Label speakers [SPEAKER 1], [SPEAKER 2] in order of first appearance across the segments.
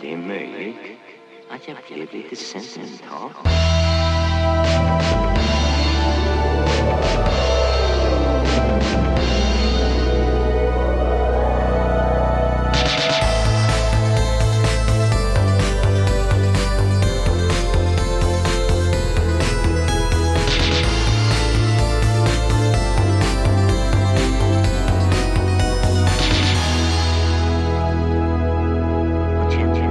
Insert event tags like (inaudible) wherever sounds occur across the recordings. [SPEAKER 1] Det är möjligt att jag blev lite sentimental. Jag känner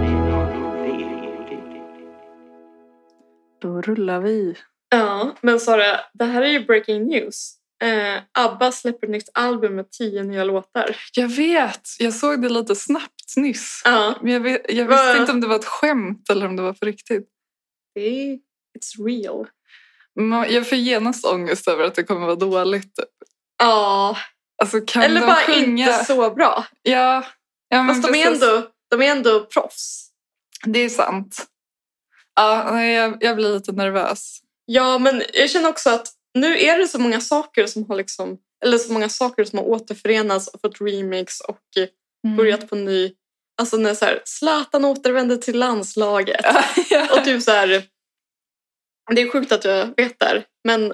[SPEAKER 1] mig väldigt...
[SPEAKER 2] Då rullar vi.
[SPEAKER 3] Ja, men Sara, det här är ju breaking news. Eh, ABBA släpper ett nytt album med tio nya låtar.
[SPEAKER 2] Jag vet, jag såg det lite snabbt nyss.
[SPEAKER 3] Ja,
[SPEAKER 2] Men jag, vet, jag
[SPEAKER 3] Va?
[SPEAKER 2] visste inte om det var ett skämt eller om det var på riktigt.
[SPEAKER 3] det är, it's real.
[SPEAKER 2] Men jag får genast ångest över att det kommer vara dåligt. typ.
[SPEAKER 3] Ja,
[SPEAKER 2] Alltså kan
[SPEAKER 3] eller
[SPEAKER 2] de
[SPEAKER 3] bara
[SPEAKER 2] sjunga?
[SPEAKER 3] inte så bra.
[SPEAKER 2] Ja, ja men
[SPEAKER 3] Fast de är,
[SPEAKER 2] precis.
[SPEAKER 3] ändå, de är ändå proffs.
[SPEAKER 2] Det är sant. Ja, nej, jag, jag blir lite nervös.
[SPEAKER 3] Ja, men jag känner också att nu är det så många saker som har liksom eller så många saker som har återförenats och fått remakes och eh,
[SPEAKER 2] Mm.
[SPEAKER 3] börjat på ny. Alltså när så här, Zlatan återvände till landslaget.
[SPEAKER 2] (laughs) Ja.
[SPEAKER 3] Och typ så här, det är sjukt att jag vet det här, men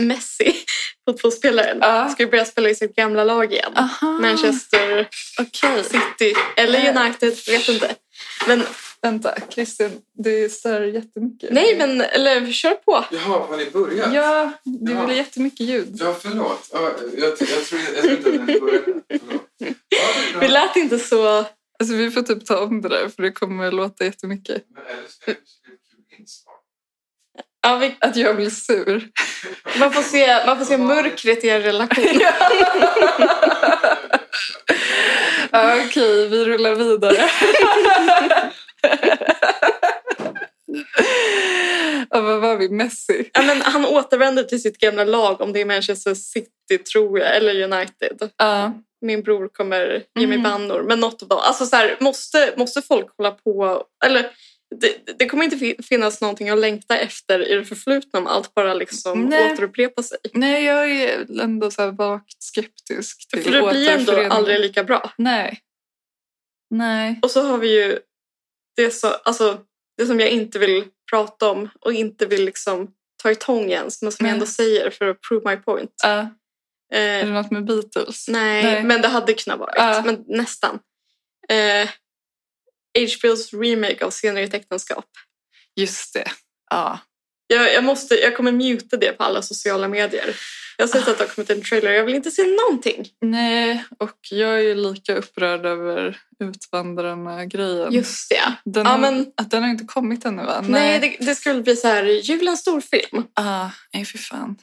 [SPEAKER 3] Messi, (laughs) fotbollsspelaren,
[SPEAKER 2] Ja. Ah.
[SPEAKER 3] ska ju börja spela i sitt gamla lag igen.
[SPEAKER 2] Aha.
[SPEAKER 3] Manchester
[SPEAKER 2] Okej.
[SPEAKER 3] City, eller United, vet inte. Men
[SPEAKER 2] Vänta, Kristin, du stör jättemycket.
[SPEAKER 3] nej, men eller kör på.
[SPEAKER 4] Jaha, har ni börjat?
[SPEAKER 2] Ja, det
[SPEAKER 4] Ja.
[SPEAKER 2] blir jättemycket ljud.
[SPEAKER 4] Ja, förlåt. Ja, jag, jag, tror, jag tror inte att ni började. Förlåt. Ja, det är
[SPEAKER 3] Vi
[SPEAKER 4] bra.
[SPEAKER 3] lät inte så...
[SPEAKER 2] Alltså, vi får typ ta om det där för det kommer låta jättemycket.
[SPEAKER 4] Men eller så är det så är det kul inslag.
[SPEAKER 3] Ja, vi,
[SPEAKER 2] Att jag blir sur.
[SPEAKER 3] man, får se, man får se mörkret i en relation.
[SPEAKER 2] Ja, Okej, vi rullar vidare.
[SPEAKER 3] (laughs)
[SPEAKER 2] ja, vad var vi? Messi?
[SPEAKER 3] Ja, men han återvänder till sitt gamla lag, om det är Manchester City, tror jag, eller United.
[SPEAKER 2] Ja.
[SPEAKER 3] min bror kommer ge mig
[SPEAKER 2] Mm.
[SPEAKER 3] bannor. Men något av dem. Alltså så här, måste, måste folk hålla på? Eller, det, det kommer inte fi- finnas någonting att längta efter i det förflutna om allt bara liksom
[SPEAKER 2] Nej.
[SPEAKER 3] återupprepar sig.
[SPEAKER 2] Nej, jag är ändå så här vagt skeptisk till
[SPEAKER 3] För det blir ändå
[SPEAKER 2] återförening.
[SPEAKER 3] aldrig lika bra.
[SPEAKER 2] Nej. Nej.
[SPEAKER 3] Och så har vi ju det, så, alltså, det som jag inte vill prata om och inte vill liksom ta i tång ens, men som jag
[SPEAKER 2] Nej.
[SPEAKER 3] ändå säger för att prove my point.
[SPEAKER 2] Ja, är
[SPEAKER 3] Eh,
[SPEAKER 2] det något med Beatles?
[SPEAKER 3] nej,
[SPEAKER 2] Nej.
[SPEAKER 3] men det hade kunnat vara.
[SPEAKER 2] Ja.
[SPEAKER 3] Men nästan. Eh, HBOs remake av Senare i ett äktenskap.
[SPEAKER 2] Just det. Ja.
[SPEAKER 3] Jag, jag, måste, jag kommer muta det på alla sociala medier. Jag har sett
[SPEAKER 2] Ah.
[SPEAKER 3] att det har kommit en trailer jag vill inte se någonting.
[SPEAKER 2] Nej, och jag är ju lika upprörd över Utvandrarna-grejen.
[SPEAKER 3] Just det.
[SPEAKER 2] Den,
[SPEAKER 3] Ja,
[SPEAKER 2] har-
[SPEAKER 3] men-
[SPEAKER 2] Att den har inte kommit ännu va?
[SPEAKER 3] Nej, det, det skulle bli så här julens storfilm.
[SPEAKER 2] Ah, nej, fy
[SPEAKER 3] (laughs)
[SPEAKER 2] fan.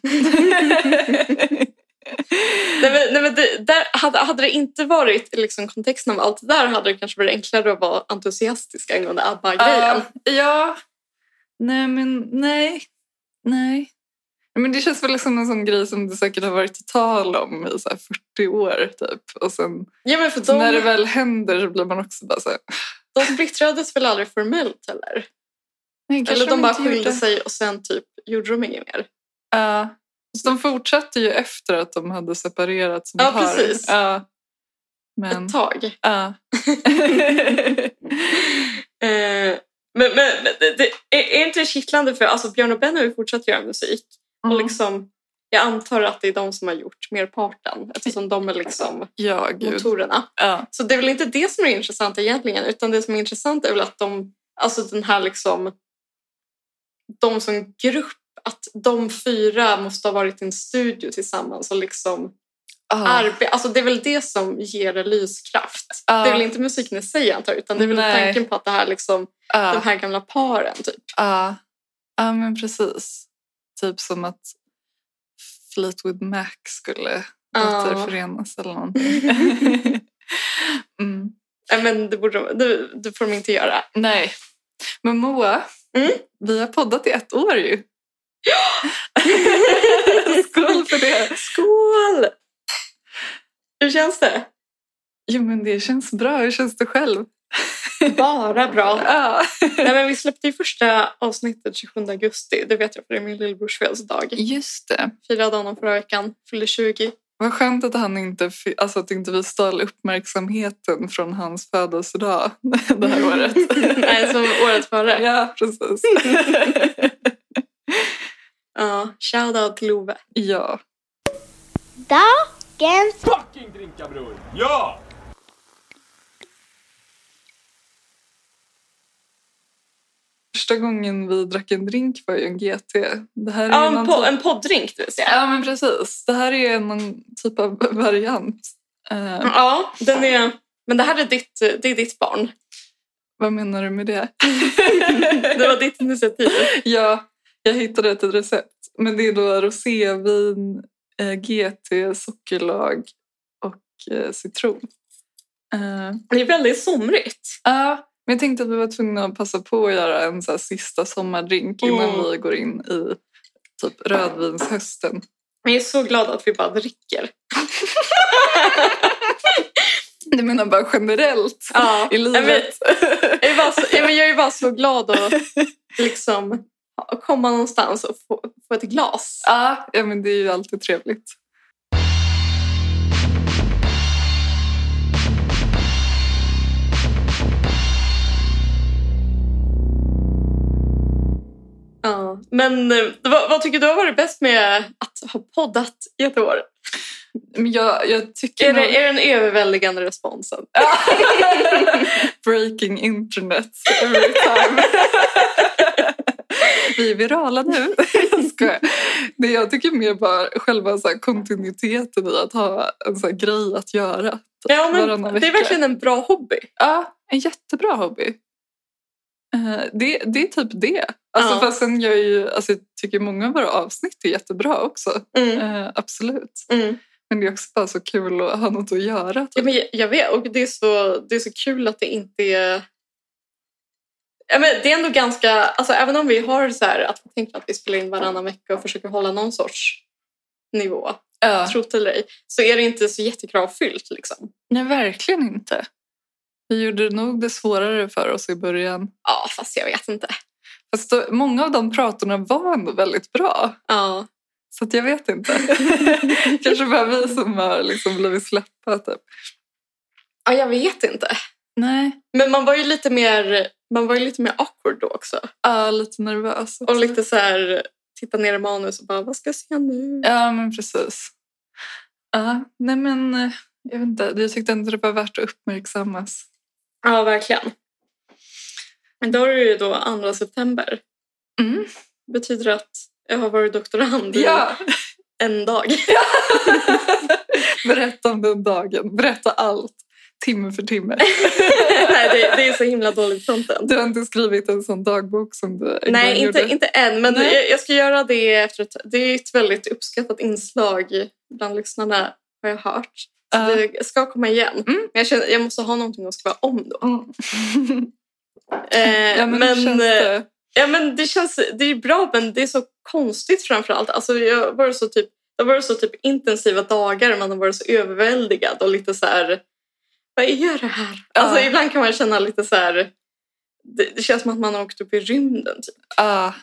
[SPEAKER 3] Nej, men, nej, men det, där, hade, hade det inte varit i liksom kontexten av allt det där hade det kanske varit enklare att vara entusiastisk angående ABBA-grejen.
[SPEAKER 2] Ah, ja. Nej, men nej. Nej. Men det känns väl som en sån grej som det säkert har varit tal om i så här 40 år typ. Och sen
[SPEAKER 3] Ja, men för de,
[SPEAKER 2] när det väl händer så blir man också bara så här...
[SPEAKER 3] de splittrades väl aldrig formellt heller?
[SPEAKER 2] Nej, kanske
[SPEAKER 3] Eller de bara
[SPEAKER 2] inte gjorde.
[SPEAKER 3] skilde sig och sen typ gjorde de inget mer.
[SPEAKER 2] Ja. Så de fortsatte ju efter att de hade separerat som
[SPEAKER 3] Ja,
[SPEAKER 2] par.
[SPEAKER 3] precis.
[SPEAKER 2] Ja. Men,
[SPEAKER 3] Ett tag.
[SPEAKER 2] (laughs)
[SPEAKER 3] (laughs)
[SPEAKER 2] ja.
[SPEAKER 3] Eh, men, men, men det, det är är inte det kittlande för alltså Björn och Ben har ju fortsatt göra musik.
[SPEAKER 2] Mm.
[SPEAKER 3] Och liksom, jag antar att det är de som har gjort merparten eftersom de är liksom
[SPEAKER 2] Ja, gud.
[SPEAKER 3] motorerna.
[SPEAKER 2] Ja.
[SPEAKER 3] Så det är väl inte det som är intressant egentligen utan det som är intressant är väl att de, alltså den här liksom, de som grupp, att de fyra måste ha varit i en studio tillsammans och liksom
[SPEAKER 2] Ah.
[SPEAKER 3] arbeta. Alltså det är väl det som ger det lyskraft.
[SPEAKER 2] Ja.
[SPEAKER 3] Det är väl inte musiken i sig jag antar utan det är väl
[SPEAKER 2] Nej.
[SPEAKER 3] tanken på att det här liksom
[SPEAKER 2] Ja.
[SPEAKER 3] de här gamla paren. Typ.
[SPEAKER 2] Ja, ja men precis. Typ som att Fleetwood Mac skulle
[SPEAKER 3] Ja.
[SPEAKER 2] återförenas eller (laughs) någonting. mm.
[SPEAKER 3] Nej, Men det, borde de, det, det får de inte (laughs) göra.
[SPEAKER 2] Nej. Men Moa,
[SPEAKER 3] Mm.
[SPEAKER 2] vi har poddat i ett år ju. Skål för det!
[SPEAKER 3] Skål! Hur känns det?
[SPEAKER 2] Jo men det känns bra, hur känns det själv?
[SPEAKER 3] Bara bra.
[SPEAKER 2] Ja.
[SPEAKER 3] Nej, men vi släppte ju första avsnittet 27 augusti. Det vet jag för det är min lillebrors födelsedag.
[SPEAKER 2] Just det.
[SPEAKER 3] Firade honom förra veckan, fyllde 20.
[SPEAKER 2] Vad skönt att, han inte, fi- alltså att inte vi stal uppmärksamheten från hans födelsedag (laughs) det här året. (laughs)
[SPEAKER 3] (laughs) Nej, som året före. Ja,
[SPEAKER 2] ja, precis.
[SPEAKER 3] shoutout till Ove.
[SPEAKER 2] ja.
[SPEAKER 5] Dagens
[SPEAKER 6] fucking drinka bror! Ja!
[SPEAKER 2] Första gången vi drack en drink var ju en GT. Det här är
[SPEAKER 3] Ja,
[SPEAKER 2] ju någon
[SPEAKER 3] en, po-
[SPEAKER 2] typ-
[SPEAKER 3] en poddrink du vill säga.
[SPEAKER 2] Ja, men precis. Det här är någon typ av (laughs) variant. Eh,
[SPEAKER 3] Ja, den är... Men det här är ditt, det är ditt (laughs) barn.
[SPEAKER 2] Vad menar du med det? (laughs)
[SPEAKER 3] Det var ditt initiativ.
[SPEAKER 2] ja, jag hittade ett recept. Men det är då rosévin, eh, GT, sockerlag och eh, citron. Eh,
[SPEAKER 3] Det är väldigt somrigt.
[SPEAKER 2] Ja, men jag tänkte att vi var tvungna att passa på att göra en så här sista sommardrink innan
[SPEAKER 3] Mm.
[SPEAKER 2] vi går in i typ rödvinshösten.
[SPEAKER 3] Men jag är så glad att vi bara dricker.
[SPEAKER 2] Du menar bara generellt
[SPEAKER 3] Ja,
[SPEAKER 2] i
[SPEAKER 3] jag vet.
[SPEAKER 2] livet?
[SPEAKER 3] Jag är, bara så, ja, men jag är bara så glad (laughs) att liksom, ha- komma någonstans och få, få ett glas.
[SPEAKER 2] Ja, ja, men det är ju alltid trevligt.
[SPEAKER 3] Ja. Men eh, vad, vad tycker du har varit bäst med att ha poddat i ett år?
[SPEAKER 2] Men jag, jag tycker
[SPEAKER 3] Är
[SPEAKER 2] nog-
[SPEAKER 3] det, är det den överväldigande responsen?
[SPEAKER 2] Breaking internet every
[SPEAKER 3] (laughs)
[SPEAKER 2] time. Vi är virala nu. Jag skojar. Det jag tycker mer bara själva så här kontinuiteten i att ha en så här grej att göra. typ
[SPEAKER 3] Ja,
[SPEAKER 2] varannan
[SPEAKER 3] men det är
[SPEAKER 2] vecka.
[SPEAKER 3] verkligen en bra hobby.
[SPEAKER 2] Ja, en jättebra hobby. Eh, Det, det är typ det. Alltså,
[SPEAKER 3] Ja.
[SPEAKER 2] fast sen jag, är ju, alltså, jag tycker många av våra avsnitt är jättebra också. Eh, absolut.
[SPEAKER 3] Mm.
[SPEAKER 2] Men det är också bara så kul att ha något att göra.
[SPEAKER 3] Ja,
[SPEAKER 2] Typ.
[SPEAKER 3] men jag, jag vet, och det är, så, det är så kul att det inte är... Ja, men det är ändå ganska... Alltså, även om vi har så här att vi tänker att vi spelar in varannan vecka och försöker hålla någon sorts nivå,
[SPEAKER 2] Ja.
[SPEAKER 3] tro eller ej, så är det inte så jättekravfyllt. Liksom.
[SPEAKER 2] Nej, verkligen inte. Vi gjorde nog det svårare för oss i början.
[SPEAKER 3] Ja, fast jag vet inte.
[SPEAKER 2] Fast då, många av de pratorna var ändå väldigt bra.
[SPEAKER 3] Ja. (laughs)
[SPEAKER 2] Så att jag vet inte. Kanske bara vi som har liksom blivit släppa. Typ.
[SPEAKER 3] ja, jag vet inte.
[SPEAKER 2] Nej.
[SPEAKER 3] Men man var ju lite mer, man var ju lite mer awkward då också.
[SPEAKER 2] Ja, lite nervös.
[SPEAKER 3] Och
[SPEAKER 2] också.
[SPEAKER 3] lite så här, titta ner i manus och bara, vad ska jag säga nu?
[SPEAKER 2] Ja, men precis. Ja, nej men eh, jag vet inte. Jag tyckte ändå det var värt att uppmärksammas.
[SPEAKER 3] Ja, verkligen. Men då är det ju då 2 september.
[SPEAKER 2] Mm.
[SPEAKER 3] Betyder det att jag har varit doktorand i
[SPEAKER 2] (laughs)
[SPEAKER 3] en dag.
[SPEAKER 2] Berätta om den dagen. Berätta allt. Timme för timme.
[SPEAKER 3] Nej, det, det är så himla dåligt content.
[SPEAKER 2] Du har inte skrivit en sån dagbok som du en
[SPEAKER 3] Nej,
[SPEAKER 2] gång
[SPEAKER 3] inte,
[SPEAKER 2] gjorde.
[SPEAKER 3] inte än. Men
[SPEAKER 2] Nej.
[SPEAKER 3] jag, jag ska göra det efter ett, Det är ett väldigt uppskattat inslag bland lyssnarna, har jag hört. Så
[SPEAKER 2] Ja.
[SPEAKER 3] det ska komma igen.
[SPEAKER 2] Mm.
[SPEAKER 3] Men jag, känner, jag måste ha någonting att skriva om då.
[SPEAKER 2] Mm.
[SPEAKER 3] Eh,
[SPEAKER 2] ja, men, hur känns
[SPEAKER 3] eh,
[SPEAKER 2] det?
[SPEAKER 3] Ja, men det känns det är bra, men det är så konstigt framför allt. Alltså, jag var så typ, det har varit så typ intensiva dagar, man har varit så överväldigad och lite så här... Vad är det här? Alltså,
[SPEAKER 2] Ja.
[SPEAKER 3] Ibland kan man känna lite så här... Det, det känns som att man har åkt upp i rymden. Typ.
[SPEAKER 2] Ja.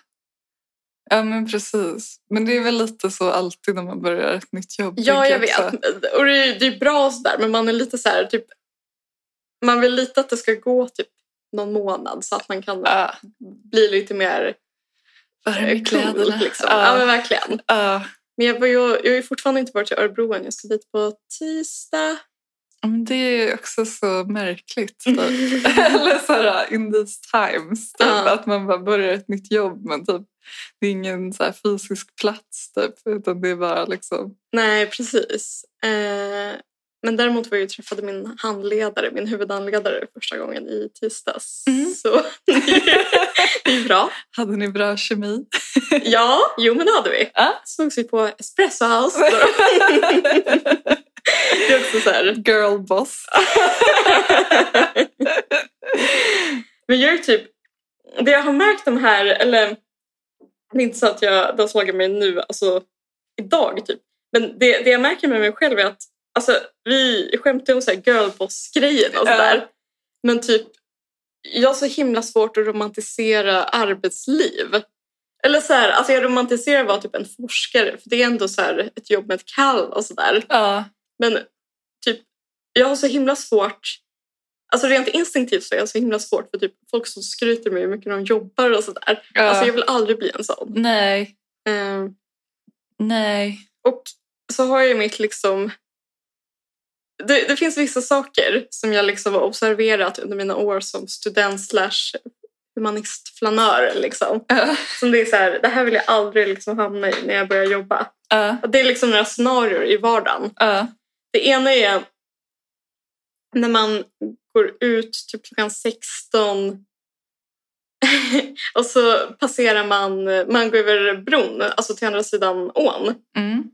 [SPEAKER 2] Ja, men precis. Men det är väl lite så alltid när man börjar ett nytt jobb.
[SPEAKER 3] Ja,
[SPEAKER 2] tänker
[SPEAKER 3] jag vet.
[SPEAKER 2] också.
[SPEAKER 3] Och det, är- det är bra så där, men man är lite så här... Typ, man vill lite att det ska gå typ någon månad så att man kan
[SPEAKER 2] Ja,
[SPEAKER 3] bli lite mer
[SPEAKER 2] värm i
[SPEAKER 3] eh, cool.
[SPEAKER 2] kläderna.
[SPEAKER 3] Liksom.
[SPEAKER 2] Ja.
[SPEAKER 3] Ja, men verkligen.
[SPEAKER 2] Ja.
[SPEAKER 3] Men jag, var ju, jag har ju fortfarande inte varit i Örebro än. Jag ska dit på tisdag.
[SPEAKER 2] Ja, Men det är ju också så märkligt. Typ. (laughs) Eller så här, in these times. Typ,
[SPEAKER 3] Mm. Ja.
[SPEAKER 2] Att man bara börjar ett nytt jobb men typ, det är ingen så här, fysisk plats. Typ, utan det är bara liksom...
[SPEAKER 3] (laughs) Nej, precis. Eh, men däremot var jag ju träffade min handledare, min huvudanledare första gången i tisdags.
[SPEAKER 2] Mm.
[SPEAKER 3] Så (laughs) det är bra.
[SPEAKER 2] Hade ni bra kemi? (laughs)
[SPEAKER 3] Ja, jo men det hade vi.
[SPEAKER 2] Ja.
[SPEAKER 3] Sågs vi på Espresso House. Då. (laughs) Det är också så här.
[SPEAKER 2] Girl boss.
[SPEAKER 3] Men jag är typ... Det jag har märkt de här, eller... Det är inte så att jag, det har slagit mig nu, alltså idag typ. Men det, det jag märker med mig själv är att alltså, vi skämtar ju om så här girlboss-grejen alltså, och
[SPEAKER 2] Ja.
[SPEAKER 3] sådär. Men typ, jag har så himla svårt att romantisera arbetsliv. Eller så här, alltså jag romantiserar att vara typ en forskare för det är ändå så här ett jobb med ett kall och sådär.
[SPEAKER 2] Ja.
[SPEAKER 3] Men typ, jag har så himla svårt, alltså rent instinktivt så är jag så himla svårt för typ folk som skryter med hur mycket de jobbar och sådär.
[SPEAKER 2] ja.
[SPEAKER 3] Alltså jag vill aldrig bli en sån.
[SPEAKER 2] Nej,
[SPEAKER 3] Eh,
[SPEAKER 2] nej.
[SPEAKER 3] Och så har jag ju mitt liksom... Det, det finns vissa saker som jag liksom har observerat under mina år som student slash humanistflanör. Liksom.
[SPEAKER 2] Ja.
[SPEAKER 3] Som det är så här, det här vill jag aldrig liksom hamna i när jag börjar jobba.
[SPEAKER 2] Ja.
[SPEAKER 3] Och det är liksom några scenarier i vardagen.
[SPEAKER 2] Ja.
[SPEAKER 3] Det ena är när man går ut typ klockan 16 (laughs) och så passerar man, man går över bron, alltså till andra sidan ån.
[SPEAKER 2] Mm.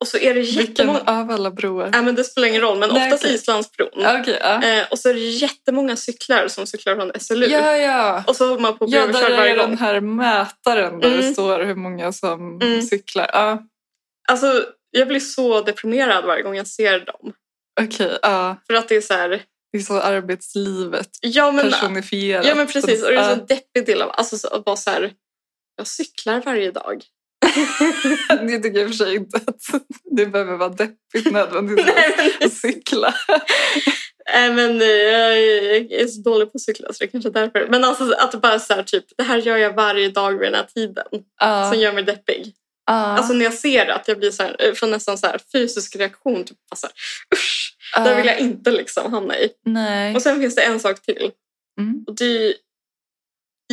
[SPEAKER 3] Och så är det
[SPEAKER 2] Vilken
[SPEAKER 3] jättemånga...
[SPEAKER 2] av alla broar?
[SPEAKER 3] Nej, men det spelar ingen roll, men
[SPEAKER 2] Nej,
[SPEAKER 3] oftast
[SPEAKER 2] okej.
[SPEAKER 3] Islandsbron.
[SPEAKER 2] Okej, ja.
[SPEAKER 3] Eh, och så är det jättemånga cyklar som cyklar från SLU.
[SPEAKER 2] Ja, ja.
[SPEAKER 3] Och så håller man på och blir
[SPEAKER 2] Ja, där
[SPEAKER 3] överkörd varje
[SPEAKER 2] är den
[SPEAKER 3] gång.
[SPEAKER 2] här mätaren där det
[SPEAKER 3] Mm.
[SPEAKER 2] står hur många som
[SPEAKER 3] Mm.
[SPEAKER 2] cyklar. Ja,
[SPEAKER 3] Alltså, jag blir så deprimerad varje gång jag ser dem.
[SPEAKER 2] okej. ja.
[SPEAKER 3] För att det är så här...
[SPEAKER 2] Det är så arbetslivet
[SPEAKER 3] Ja, men,
[SPEAKER 2] personifierat.
[SPEAKER 3] ja, men precis. Och det är
[SPEAKER 2] Ja.
[SPEAKER 3] en så deppig del av alltså, så, att vara så här... Jag cyklar
[SPEAKER 2] (laughs)
[SPEAKER 3] varje dag.
[SPEAKER 2] Det tycker jag i och för sig inte att det behöver vara deppigt nödvändigt
[SPEAKER 3] Nej, men,
[SPEAKER 2] att cykla.
[SPEAKER 3] nej, men eh, jag är- jag är så dålig på att cykla så det är kanske är därför. Men alltså att det bara är så här typ, det här gör jag varje dag vid den här tiden.
[SPEAKER 2] Ja.
[SPEAKER 3] Som gör mig deppig.
[SPEAKER 2] Ja.
[SPEAKER 3] Alltså när jag ser det, att jag blir så här, eh, får nästan så här fysisk reaktion. Typ bara så här, usch,
[SPEAKER 2] Ja.
[SPEAKER 3] där vill jag inte liksom hamna i.
[SPEAKER 2] Nej.
[SPEAKER 3] Och sen finns det en sak till.
[SPEAKER 2] Mm.
[SPEAKER 3] Och det är ju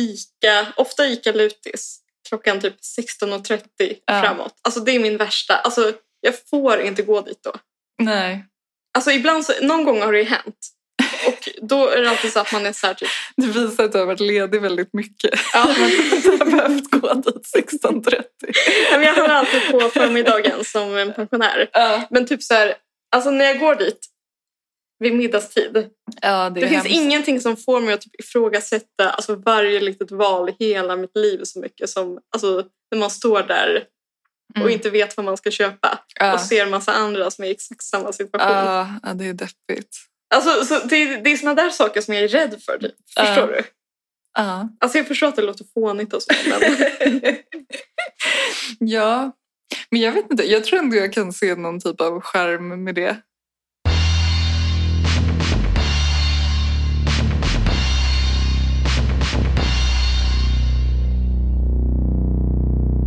[SPEAKER 3] Ica, ofta Ica Lutis, klockan typ 16.30
[SPEAKER 2] Ja.
[SPEAKER 3] framåt. Alltså det är min värsta. Alltså jag får inte gå dit då.
[SPEAKER 2] Nej.
[SPEAKER 3] Alltså ibland så, någon gång har det ju hänt. Och då är det alltid så att man är så här typ,
[SPEAKER 2] Det visar att du har varit ledig väldigt mycket. (laughs)
[SPEAKER 3] ja,
[SPEAKER 2] Men du har behövt gå dit 16.30.
[SPEAKER 3] men jag hamnar alltid på förmiddagen som en pensionär.
[SPEAKER 2] Ja,
[SPEAKER 3] Men typ så här, alltså när jag går dit vid middagstid,
[SPEAKER 2] ja det är
[SPEAKER 3] Det finns
[SPEAKER 2] hemskt.
[SPEAKER 3] ingenting som får mig att typ ifrågasätta alltså, varje litet val i hela mitt liv så mycket som alltså, när man står där
[SPEAKER 2] Mm.
[SPEAKER 3] och inte vet vad man ska köpa
[SPEAKER 2] ja.
[SPEAKER 3] och ser en massa andra som är i exakt samma situation.
[SPEAKER 2] Ja, ja, det är deppigt.
[SPEAKER 3] Alltså, så det, det är såna där saker som jag är rädd för. Typ.
[SPEAKER 2] Ja.
[SPEAKER 3] Förstår du?
[SPEAKER 2] Ja.
[SPEAKER 3] Alltså, jag förstår att det låter fånigt och så, men (laughs)
[SPEAKER 2] ja, men jag vet inte. Jag tror ändå jag kan se någon typ av skärm med det.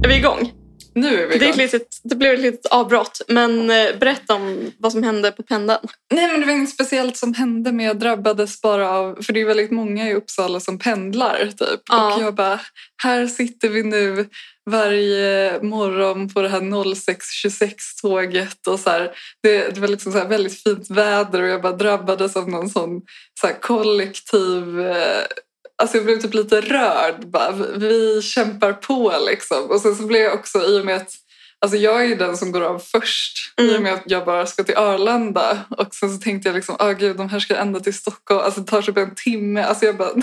[SPEAKER 3] är vi igång?
[SPEAKER 2] Nu är vi
[SPEAKER 3] Det, är
[SPEAKER 2] igång.
[SPEAKER 3] ett litet, det blev ett litet avbrott, men eh, berätta om vad som hände på pendeln.
[SPEAKER 2] Nej, men det var inget speciellt som hände, men jag drabbades bara av... För det är väldigt många i Uppsala som pendlar, typ.
[SPEAKER 3] Ja.
[SPEAKER 2] Och jag bara, här sitter vi nu varje morgon på det här 06.26-tåget. Och så här, det, det var liksom så här väldigt fint väder och jag bara drabbades av någon sån så här kollektiv... Eh, alltså jag blev typ lite rörd. Bara, vi, vi kämpar på, liksom. Och sen så blev jag också, i och med att Alltså jag är ju den som går av först i och
[SPEAKER 3] Mm.
[SPEAKER 2] med att jag bara ska till Arlanda. Och sen så tänkte jag liksom, ah gud de här ska ända till Stockholm. Alltså det tar typ en timme. Alltså jag bara, (laughs)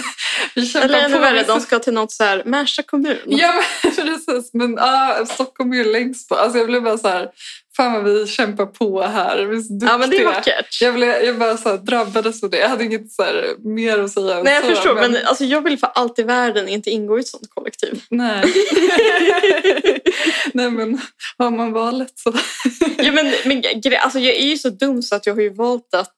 [SPEAKER 2] vi kämpar
[SPEAKER 3] Eller ännu
[SPEAKER 2] på.
[SPEAKER 3] värre, de ska till något så här, Märsta kommun.
[SPEAKER 2] Ja men (laughs) precis, men ah, Stockholm är ju längst på. Alltså jag blev bara så här, fan vad vi kämpar på här. Vi är så duktiga.
[SPEAKER 3] ja, men det är vackert.
[SPEAKER 2] jag, blev, jag bara så här, drabbades av det. Jag hade inget så här, mer att säga. än
[SPEAKER 3] Nej, jag
[SPEAKER 2] så,
[SPEAKER 3] förstår. Men alltså, jag vill för allt i världen inte ingå i ett sånt
[SPEAKER 2] (laughs)
[SPEAKER 3] kollektiv.
[SPEAKER 2] Nej. nej men har man valet så.
[SPEAKER 3] ja, men, men, gre- alltså, jag är ju så dum så att jag har ju valt att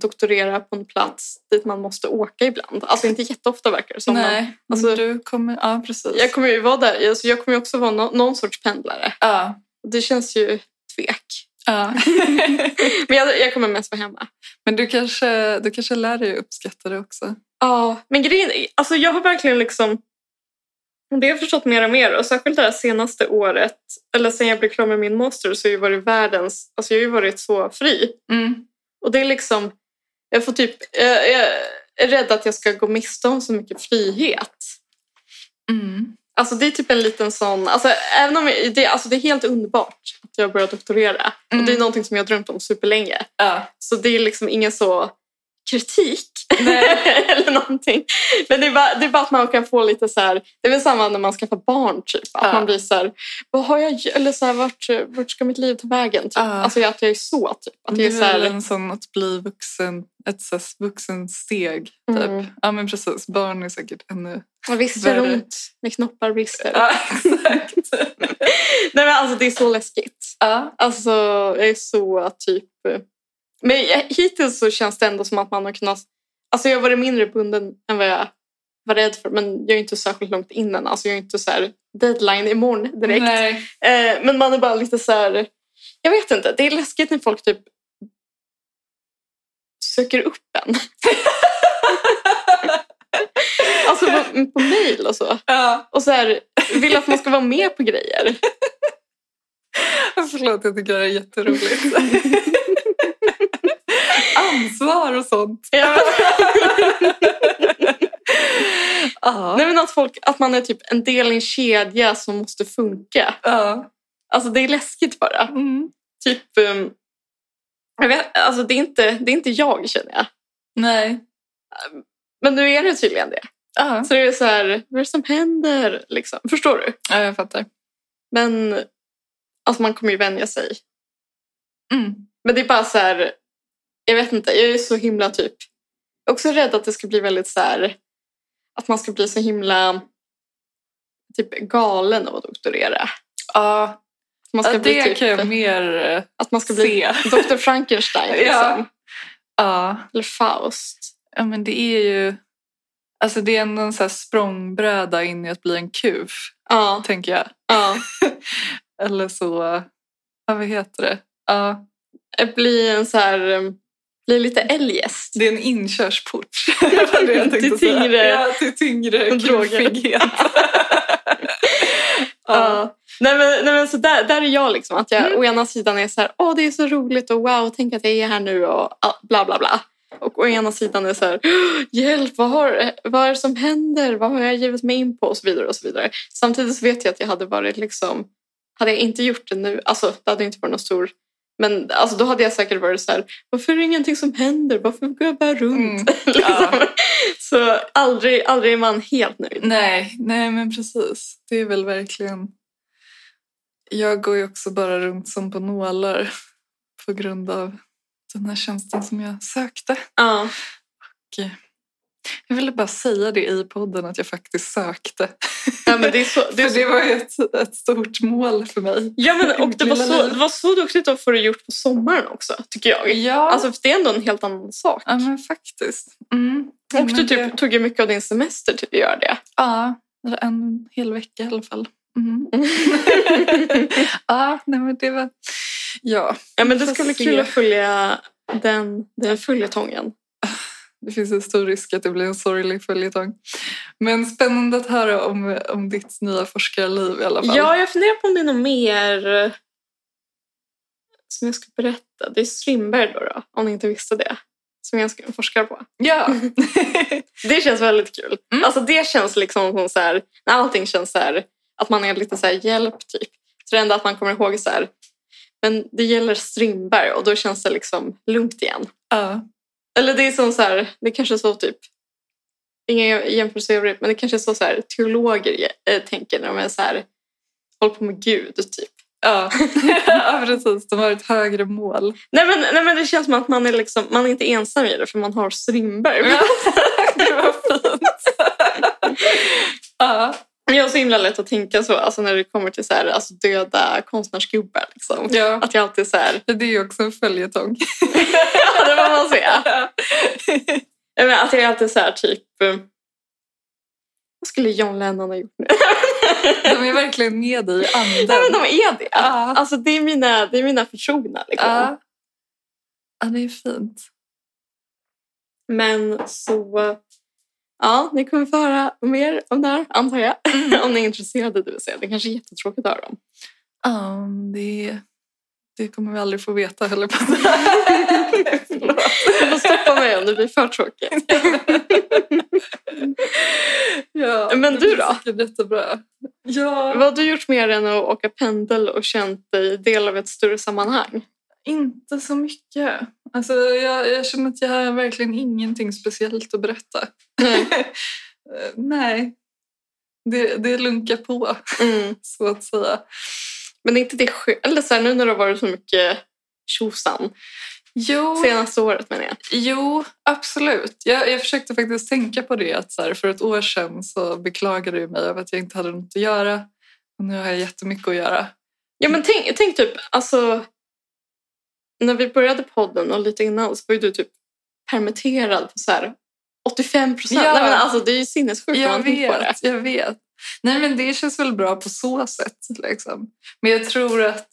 [SPEAKER 3] doktorera på en plats dit man måste åka ibland. Alltså inte jätteofta verkar det som. men-
[SPEAKER 2] Nej,
[SPEAKER 3] alltså-
[SPEAKER 2] alltså, du kommer, ja precis.
[SPEAKER 3] Jag kommer ju vara där. Alltså, jag kommer ju också vara nå- någon sorts pendlare.
[SPEAKER 2] ja.
[SPEAKER 3] Det känns ju tvek.
[SPEAKER 2] Ja.
[SPEAKER 3] Men jag, jag kommer mest vara hemma.
[SPEAKER 2] Men du kanske, du kanske lär dig att uppskatta det också.
[SPEAKER 3] Ja, men grejen är- alltså jag har verkligen liksom det har jag förstått mer och mer och särskilt det här senaste året, eller sen jag blev klar med min master så har jag ju varit världens, alltså jag har ju varit så fri. Och det är liksom, jag får typ, jag, jag är rädd att jag ska gå miste om så mycket frihet.
[SPEAKER 2] Mm.
[SPEAKER 3] Alltså det är typ en liten sån, alltså även om jag, det, alltså det är helt underbart att jag börjar doktorera. Och
[SPEAKER 2] Mm.
[SPEAKER 3] det är någonting som jag har drömt om superlänge.
[SPEAKER 2] Ja.
[SPEAKER 3] Så det är liksom ingen så kritik (laughs)
[SPEAKER 2] Nej.
[SPEAKER 3] eller någonting. Men det är, bara, det är bara att man kan få lite så här, det är väl samma när man skaffar barn typ. Att
[SPEAKER 2] Ja.
[SPEAKER 3] man blir så här, vad har jag, gj- eller så här, vart, vart ska mitt liv ta vägen? Typ.
[SPEAKER 2] Ja.
[SPEAKER 3] Alltså att jag är så typ. Att
[SPEAKER 2] Det
[SPEAKER 3] jag är
[SPEAKER 2] är
[SPEAKER 3] så
[SPEAKER 2] väl
[SPEAKER 3] här,
[SPEAKER 2] en sån att bli vuxen, ett vuxen steg. Typ.
[SPEAKER 3] Mm.
[SPEAKER 2] Ja men precis, barn är säkert ännu
[SPEAKER 3] Och visst gör det
[SPEAKER 2] Värre.
[SPEAKER 3] ont när knoppar brister.
[SPEAKER 2] Ja,
[SPEAKER 3] (laughs)
[SPEAKER 2] exakt.
[SPEAKER 3] Nej men alltså det är så läskigt.
[SPEAKER 2] Ja.
[SPEAKER 3] Alltså jag är så typ... Men jag- hittills så känns det ändå som att man har kunnat... Alltså jag har varit mindre bunden än vad jag var rädd för. Men jag är inte särskilt långt innan. Alltså jag är inte så här deadline imorgon direkt.
[SPEAKER 2] Nej.
[SPEAKER 3] Eh, men man är bara lite så här... Jag vet inte, det är läskigt när folk typ söker upp en. alltså på, på mail och så.
[SPEAKER 2] Ja.
[SPEAKER 3] Och så här, vill att man ska vara med på grejer.
[SPEAKER 2] (laughs) Förlåt, jag tycker det här är jätteroligt. (laughs) Ansvar och sånt.
[SPEAKER 3] Ja. (laughs)
[SPEAKER 2] Ja.
[SPEAKER 3] Nej, men att, folk, att man är typ en del i en kedja som måste funka.
[SPEAKER 2] Ja.
[SPEAKER 3] Alltså det är läskigt bara.
[SPEAKER 2] Mm.
[SPEAKER 3] Typ, ehm, jag vet, alltså det är, inte, det är inte jag känner jag.
[SPEAKER 2] Nej.
[SPEAKER 3] Men nu är det tydligen det.
[SPEAKER 2] Ja.
[SPEAKER 3] Så det är så här, vad är det som händer? Liksom. Förstår du?
[SPEAKER 2] ja, jag fattar.
[SPEAKER 3] Men alltså man kommer ju vänja sig.
[SPEAKER 2] Mm.
[SPEAKER 3] Men det är bara så här, jag vet inte, jag är så himla typ, jag är också rädd att det ska bli väldigt så här, att man ska bli så himla typ galen av att doktorera. Att
[SPEAKER 2] Ja,
[SPEAKER 3] Man ska
[SPEAKER 2] ja
[SPEAKER 3] bli
[SPEAKER 2] det
[SPEAKER 3] typ,
[SPEAKER 2] kan jag mer eh,
[SPEAKER 3] att man ska bli
[SPEAKER 2] se.
[SPEAKER 3] Dr. Frankenstein liksom.
[SPEAKER 2] (laughs) Ja. Ja.
[SPEAKER 3] Eller Faust.
[SPEAKER 2] ja, men det är ju... Alltså det är ändå en så här språngbräda in i att bli en kuf,
[SPEAKER 3] Ja,
[SPEAKER 2] tänker jag.
[SPEAKER 3] ja.
[SPEAKER 2] Eller så... Ja, vad heter det? Ja,
[SPEAKER 3] Bli en så här, um, bli lite eljest.
[SPEAKER 2] det är en inkörsport. Det var det jag tänkte
[SPEAKER 3] Till
[SPEAKER 2] säga.
[SPEAKER 3] tyngre-
[SPEAKER 2] Ja, till tyngre
[SPEAKER 3] droger. (laughs)
[SPEAKER 2] kufighet. ja. Mm.
[SPEAKER 3] Ja. Nej, men, nej, men så där, där är jag liksom. Att jag å ena sidan är så här, åh det är så roligt och wow, tänk att jag är här nu och ah, bla bla bla. Och å ena sidan är så här, "Åh, hjälp, vad, har, vad är det som händer? Vad har jag givit mig in på? Och så vidare och så vidare. Samtidigt så vet jag att jag hade varit liksom, hade jag inte gjort det nu, alltså det hade inte varit någon stor men alltså, då hade jag säkert varit så här, varför är det ingenting som händer? Varför går jag bara runt?
[SPEAKER 2] Mm.
[SPEAKER 3] (laughs) liksom. Så aldrig, aldrig är man helt nöjd.
[SPEAKER 2] Nej, nej men precis. Det är väl verkligen... Jag går ju också bara runt som på nålar på grund av den här tjänsten som jag sökte.
[SPEAKER 3] Ja.
[SPEAKER 2] Jag ville bara säga det i podden att jag faktiskt sökte.
[SPEAKER 3] Ja, men det (laughs) är så, det är
[SPEAKER 2] För
[SPEAKER 3] så
[SPEAKER 2] det var ju ett, ett stort mål för mig.
[SPEAKER 3] Ja, men, och det var,
[SPEAKER 2] Lilla
[SPEAKER 3] så,
[SPEAKER 2] liv.
[SPEAKER 3] det var så duktigt att få det gjort på sommaren också, tycker jag.
[SPEAKER 2] Ja,
[SPEAKER 3] Alltså, för det är ändå en helt annan sak.
[SPEAKER 2] ja men faktiskt. Mm.
[SPEAKER 3] Och
[SPEAKER 2] Men
[SPEAKER 3] du
[SPEAKER 2] det-
[SPEAKER 3] typ, tog ju mycket av din semester till att göra (laughs) det.
[SPEAKER 2] Ja, eller en hel vecka i alla fall. Mm. ja, nej men det var... Ja,
[SPEAKER 3] ja, men det
[SPEAKER 2] Får
[SPEAKER 3] ska bli
[SPEAKER 2] se.
[SPEAKER 3] kul att följa den, den följetongen.
[SPEAKER 2] Det finns en stor risk att det blir en sorglig följetong. Men spännande att höra om, om ditt nya forskarliv i alla fall.
[SPEAKER 3] Ja, jag funderar på om det är något mer eh, som jag ska berätta. Det är Strindberg då, då om ni inte visste det, som jag ska forska på.
[SPEAKER 2] ja.
[SPEAKER 3] Det känns väldigt kul. Alltså det känns liksom som så här, när allting känns så här, att man är lite så här hjälp typ. Så det enda att man kommer ihåg är så här, men det gäller Strindberg och då känns det liksom lugnt igen.
[SPEAKER 2] ja.
[SPEAKER 3] Eller det är som så här, det kanske är så typ, ingen jämförelse i övrigt, men det kanske är så, så här teologer eh, tänker när de är så här, håller på med Gud typ.
[SPEAKER 2] Ja. (laughs) ja, precis. De har ett högre mål.
[SPEAKER 3] Nej men, nej men det känns som att man är liksom, man är inte ensam i det för man har Strindberg. (laughs)
[SPEAKER 2] det var fint. ja.
[SPEAKER 3] Jag har så himla lätt att tänka så, alltså när det kommer till så här, alltså döda konstnärsgubbar. Liksom.
[SPEAKER 2] ja,
[SPEAKER 3] Att jag alltid så här, (laughs)
[SPEAKER 2] det är ju också en följetong.
[SPEAKER 3] ja det får man säga.
[SPEAKER 2] (laughs)
[SPEAKER 3] Nej, men Att jag alltid så här typ, eh, vad skulle John Lennon ha gjort nu?
[SPEAKER 2] De är verkligen med i
[SPEAKER 3] Nej men
[SPEAKER 2] anden.
[SPEAKER 3] de är det.
[SPEAKER 2] Ja.
[SPEAKER 3] Alltså det är mina, det är mina förtrogna. Liksom.
[SPEAKER 2] Ja. ja, det är fint.
[SPEAKER 3] Men så, eh, ja ni kommer få höra mer om det här antar jag.
[SPEAKER 2] Mm.
[SPEAKER 3] (laughs) om ni är intresserade det vill säga. Det kanske är jättetråkigt att höra om.
[SPEAKER 2] Ja, det, det kommer vi aldrig få veta, höll jag på att säga. (laughs) Förlåt.
[SPEAKER 3] Du får stoppa mig om det blir för tråkigt.
[SPEAKER 2] Ja,
[SPEAKER 3] Men
[SPEAKER 2] det
[SPEAKER 3] du
[SPEAKER 2] blir
[SPEAKER 3] då?
[SPEAKER 2] säkert Jättebra. Ja,
[SPEAKER 3] Vad har du gjort mer än att åka pendel och känt dig del av ett större sammanhang?
[SPEAKER 2] inte så mycket. Alltså, jag, jag känner att jag har verkligen ingenting speciellt att berätta.
[SPEAKER 3] Nej.
[SPEAKER 2] (laughs) Eh, Nej. Det, det lunkar på, (laughs)
[SPEAKER 3] Mm.
[SPEAKER 2] så att säga.
[SPEAKER 3] Men är inte det skönt? Eller så här, nu när det har varit så mycket tjosan.
[SPEAKER 2] Jo,
[SPEAKER 3] Senaste året menar jag.
[SPEAKER 2] jo absolut. Jag, jag försökte faktiskt tänka på det. Att så här, för ett år sedan så beklagade jag mig över att jag inte hade något att göra. Och nu har jag jättemycket att göra.
[SPEAKER 3] Ja men tänk, tänk typ, alltså. När vi började podden och lite innan så var ju du typ permitterad på så här 85 procent.
[SPEAKER 2] Ja.
[SPEAKER 3] Nej men alltså det är ju sinnessjukt om
[SPEAKER 2] Jag
[SPEAKER 3] man tänker på det.
[SPEAKER 2] vet, jag vet. Nej men det känns väl bra på så sätt. Liksom. Men jag tror att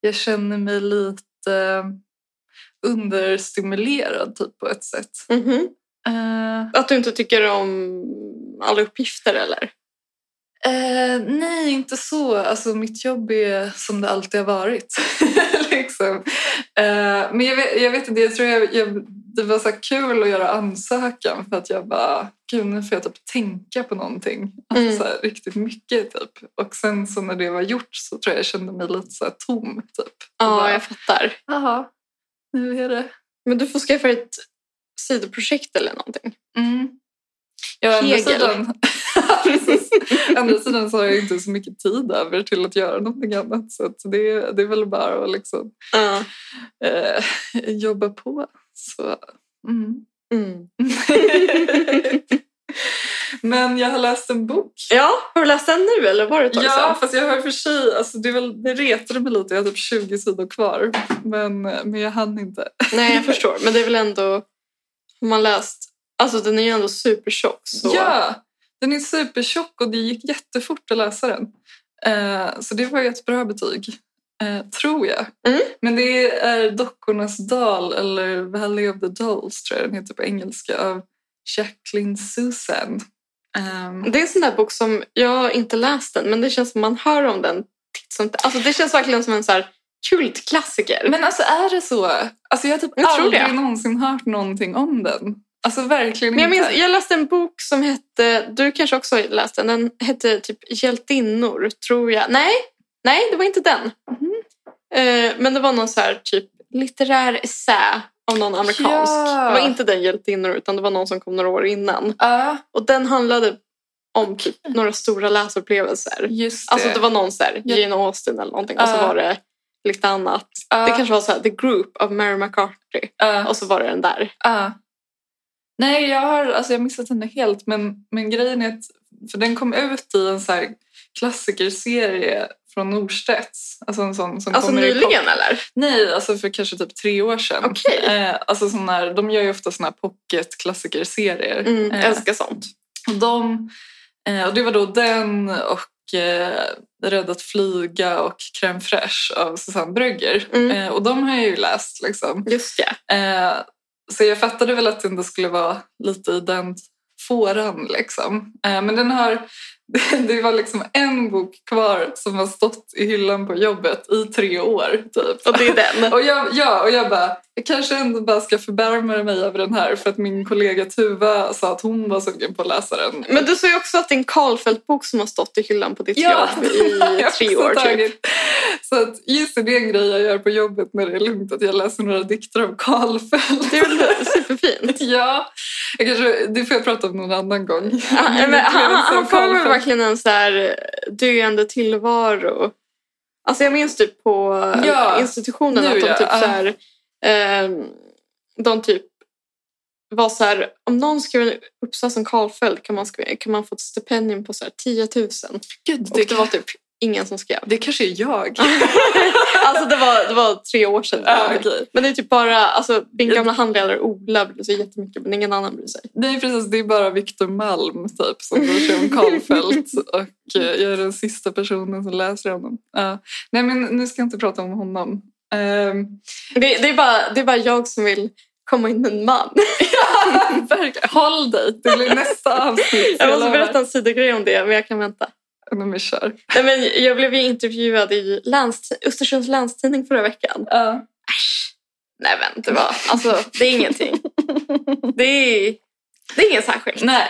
[SPEAKER 2] jag känner mig lite understimulerad typ, på ett sätt.
[SPEAKER 3] Mhm.
[SPEAKER 2] Eh,
[SPEAKER 3] Att du inte tycker om alla uppgifter eller?
[SPEAKER 2] Eh, nej, inte så. Alltså, mitt jobb är som det alltid har varit. (laughs) liksom. Eh, men jag vet, jag vet inte, jag tror jag, jag, det var så här kul att göra ansökan för att jag bara, gud nu får jag typ tänka på någonting. Alltså,
[SPEAKER 3] Mm.
[SPEAKER 2] så här, riktigt mycket typ. Och sen så när det var gjort så tror jag jag kände mig lite så här tom. Typ. Och
[SPEAKER 3] Ja,
[SPEAKER 2] bara,
[SPEAKER 3] jag fattar.
[SPEAKER 2] Jaha, nu är det.
[SPEAKER 3] Men du får skaffa ett sidoprojekt eller någonting.
[SPEAKER 2] Mm. Ja, å andra
[SPEAKER 3] Kegel.
[SPEAKER 2] sidan, (laughs) Precis. Å andra sidan så har jag inte så mycket tid över till att göra någonting annat. Så att det, det är väl bara att liksom,
[SPEAKER 3] Ja.
[SPEAKER 2] eh, (laughs) jobba på. Så, mm. (laughs)
[SPEAKER 3] Mm.
[SPEAKER 2] Men jag har läst en bok.
[SPEAKER 3] ja, har du läst den nu eller var det ett tag
[SPEAKER 2] Ja,
[SPEAKER 3] sedan?
[SPEAKER 2] fast jag har i och för sig, alltså det, är väl, det retade mig lite. Jag har typ 20 sidor kvar. Men, men jag hann inte.
[SPEAKER 3] Nej, jag förstår. Men det är väl ändå, har man läst, alltså den är ju ändå supertjock. Så.
[SPEAKER 2] Ja, den är supertjock och det gick jättefort att läsa den. Eh, så det var ju ett bra betyg, eh, tror jag.
[SPEAKER 3] Mm.
[SPEAKER 2] Men det är Dockornas dal, eller Valley of the Dolls tror jag den heter på engelska, av Jacqueline Susan. Ehm,
[SPEAKER 3] Det är en sån där bok som, jag har inte läst den, men det känns som man hör om den titt som tätt. Alltså det känns verkligen som en så här kultklassiker.
[SPEAKER 2] men alltså är det så? Alltså jag har typ
[SPEAKER 3] Jag tror
[SPEAKER 2] aldrig
[SPEAKER 3] det. någonsin
[SPEAKER 2] någonsin hört någonting om den. Alltså verkligen
[SPEAKER 3] Men jag,
[SPEAKER 2] inte.
[SPEAKER 3] minns, jag läste en bok som hette, du kanske också har läst den, den hette typ Hjältinnor, tror jag. Nej, nej det var inte den.
[SPEAKER 2] Mhm.
[SPEAKER 3] Eh, men det var någon så här typ litterär essä av någon amerikansk.
[SPEAKER 2] Ja.
[SPEAKER 3] Det var inte den Hjältinnor utan det var någon som kom några år innan.
[SPEAKER 2] Ja,
[SPEAKER 3] Och den handlade om typ några stora läsupplevelser.
[SPEAKER 2] just det.
[SPEAKER 3] Alltså det var någon så här
[SPEAKER 2] Ja.
[SPEAKER 3] Jane Austen eller någonting och så
[SPEAKER 2] Ja.
[SPEAKER 3] var det lite annat.
[SPEAKER 2] Ja,
[SPEAKER 3] Det kanske var så här The Group av Mary McCarthy
[SPEAKER 2] ja.
[SPEAKER 3] och så var det den där.
[SPEAKER 2] Ja. Ah. Nej, jag har alltså jag har missat henne helt. Men, men grejen är att för den kom ut i en så här klassikerserie från Norstedts. Alltså, en sån, som
[SPEAKER 3] Alltså
[SPEAKER 2] kommer i
[SPEAKER 3] nyligen
[SPEAKER 2] pop-
[SPEAKER 3] eller?
[SPEAKER 2] Nej, alltså för kanske typ tre år sedan.
[SPEAKER 3] Okej.
[SPEAKER 2] Eh, alltså sån här, de gör ju ofta såna här pocket-klassikerserier.
[SPEAKER 3] Mm,
[SPEAKER 2] Eh,
[SPEAKER 3] Älskar sånt.
[SPEAKER 2] och, de, eh, och det var då den och eh, Rädd att flyga och Crème fraîche av Susanne Brögger.
[SPEAKER 3] Mm.
[SPEAKER 2] Eh, och de har jag ju läst liksom.
[SPEAKER 3] Just det.
[SPEAKER 2] Eh, så jag fattade väl att det ändå skulle vara lite i den fåran. Liksom. Eh, men den har, (laughs) det var liksom en bok kvar som har stått i hyllan på jobbet i tre år. Typ.
[SPEAKER 3] (laughs) Och det är den.
[SPEAKER 2] Och jag, ja, och jag bara, jag kanske ändå bara ska förbarma mig över den här för att min kollega Tuva sa att hon var sugen på att läsa den.
[SPEAKER 3] Men du sa ju också att det är en Karlfeldt-bok som har stått i hyllan på ditt jobb (laughs) i
[SPEAKER 2] jag
[SPEAKER 3] tre
[SPEAKER 2] har
[SPEAKER 3] år.
[SPEAKER 2] också
[SPEAKER 3] Typ.
[SPEAKER 2] tagit. Så att, just det, det är en grej jag gör på jobbet när det är lugnt att jag läser några dikter av Karlfeldt.
[SPEAKER 3] Det är väl (laughs)
[SPEAKER 2] (laughs)
[SPEAKER 3] superfint.
[SPEAKER 2] Ja, jag kanske, det får jag prata om någon annan gång.
[SPEAKER 3] Han, men
[SPEAKER 2] Det är
[SPEAKER 3] han,
[SPEAKER 2] liksom
[SPEAKER 3] han får väl
[SPEAKER 2] Karlfeldt.
[SPEAKER 3] verkligen en så här eh, döende tillvaro. Alltså jag minns typ på
[SPEAKER 2] Ja,
[SPEAKER 3] institutionen
[SPEAKER 2] nu
[SPEAKER 3] att de
[SPEAKER 2] ja,
[SPEAKER 3] typ
[SPEAKER 2] ja.
[SPEAKER 3] så här, ehm, de typ var så här, om någon skriver en uppsats som Karlfeldt kan man, skriva, kan man få ett stipendium på så här 10 000.
[SPEAKER 2] Gud,
[SPEAKER 3] Och det var typ ingen som skrev.
[SPEAKER 2] (laughs) det kanske är jag.
[SPEAKER 3] Alltså det var, det var tre år sedan.
[SPEAKER 2] Ja, okej.
[SPEAKER 3] Men det är typ bara, alltså min gamla handledare Ola bryr sig jättemycket men ingen annan bryr sig.
[SPEAKER 2] (laughs) Nej, precis. Det är bara Viktor Malm typ, som bryr sig (laughs) om Karlfeldt. Och eh, jag är den sista personen som läser honom. Ja. nej, men nu ska jag inte prata om honom. Ehm, (laughs)
[SPEAKER 3] Det, det, är bara, det är bara jag som vill komma in med en man.
[SPEAKER 2] verkligen. Håll dig, det blir (laughs) nästa avsnitt.
[SPEAKER 3] Jag måste
[SPEAKER 2] lovar.
[SPEAKER 3] berätta en sidogrej om det men jag kan vänta.
[SPEAKER 2] Nej, men kör.
[SPEAKER 3] Nej, men jag blev ju intervjuad i läns, Östersunds länstidning förra veckan.
[SPEAKER 2] Ja.
[SPEAKER 3] Nej men det var, alltså det är
[SPEAKER 2] (laughs)
[SPEAKER 3] ingenting. Det är, det är inget särskilt.
[SPEAKER 2] Nej.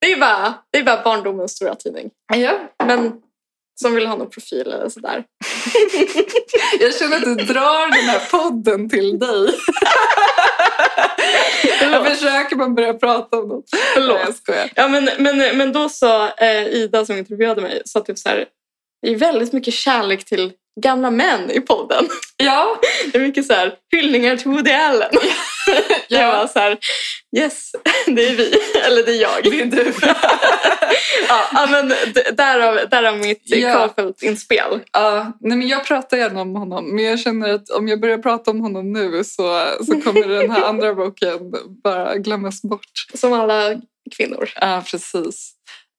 [SPEAKER 3] Det är bara, det är bara barndomens stora tidning.
[SPEAKER 2] Ja.
[SPEAKER 3] Men som vill ha någon profil eller sådär.
[SPEAKER 2] Jag känner att du drar den här podden till (laughs) dig. Jag försöker man börja prata om något. Nej,
[SPEAKER 3] Förlåt.
[SPEAKER 2] jag skojar.
[SPEAKER 3] Ja, men, men, men då sa eh, Ida som intervjuade mig, sa typ så här, det är väldigt mycket kärlek till gamla män i podden. (laughs)
[SPEAKER 2] Ja,
[SPEAKER 3] Det är mycket så här, hyllningar till Woody Allen. (laughs) Jag var så här, yes, (laughs) det är vi. Eller det är jag.
[SPEAKER 2] det är du.
[SPEAKER 3] (laughs) ja, ja, men d- därav, därav mitt eh,
[SPEAKER 2] Ja.
[SPEAKER 3] Karlfeldt-inspel.
[SPEAKER 2] Ja, nej men jag pratar gärna om honom, men jag känner att om jag börjar prata om honom nu så, så kommer den här andra boken bara glömmas bort.
[SPEAKER 3] Som alla kvinnor.
[SPEAKER 2] Ja, precis.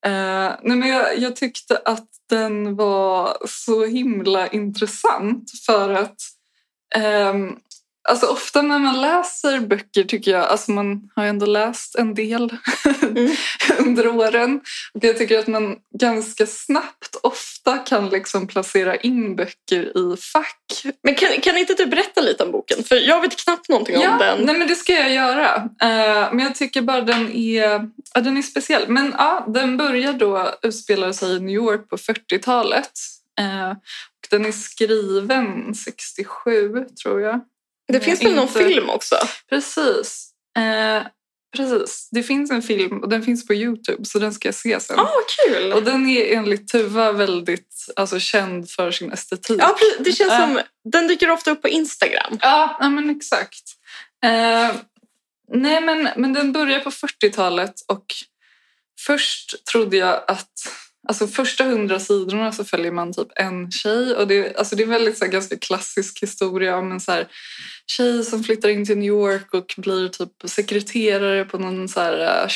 [SPEAKER 2] Eh, nej, men jag, jag tyckte att den var så himla intressant för att ehm, alltså ofta när man läser böcker tycker jag, alltså man har ju ändå läst en del
[SPEAKER 3] Mm.
[SPEAKER 2] (laughs) under åren och jag tycker att man ganska snabbt ofta kan liksom placera in böcker i fack
[SPEAKER 3] Men kan, kan inte du berätta lite om boken? För jag vet knappt någonting om den.
[SPEAKER 2] Nej, men det ska jag göra. Eh, men jag tycker bara den är, ja, den är speciell. Men ja, den börjar då utspela sig i New York på 40-talet. Eh, och den är skriven 67, tror jag.
[SPEAKER 3] Det finns väl någon
[SPEAKER 2] inte-
[SPEAKER 3] film också?
[SPEAKER 2] Precis. Eh, precis. Det finns en film och den finns på Youtube, så den ska jag se sen.
[SPEAKER 3] Ja, Ah, vad kul!
[SPEAKER 2] Och den är enligt Tuva väldigt alltså, känd för sin estetik.
[SPEAKER 3] Ja, pre- det
[SPEAKER 2] Eh.
[SPEAKER 3] känns som, den dyker ofta upp på Instagram.
[SPEAKER 2] Ja, ja men exakt. Eh, nej, men, men den börjar på 40-talet och först trodde jag att... Alltså första hundra sidorna så följer man typ en tjej och det, alltså det är väldigt så här, ganska klassisk historia om en så här, tjej som flyttar in till New York och blir typ sekreterare på någon så här eh,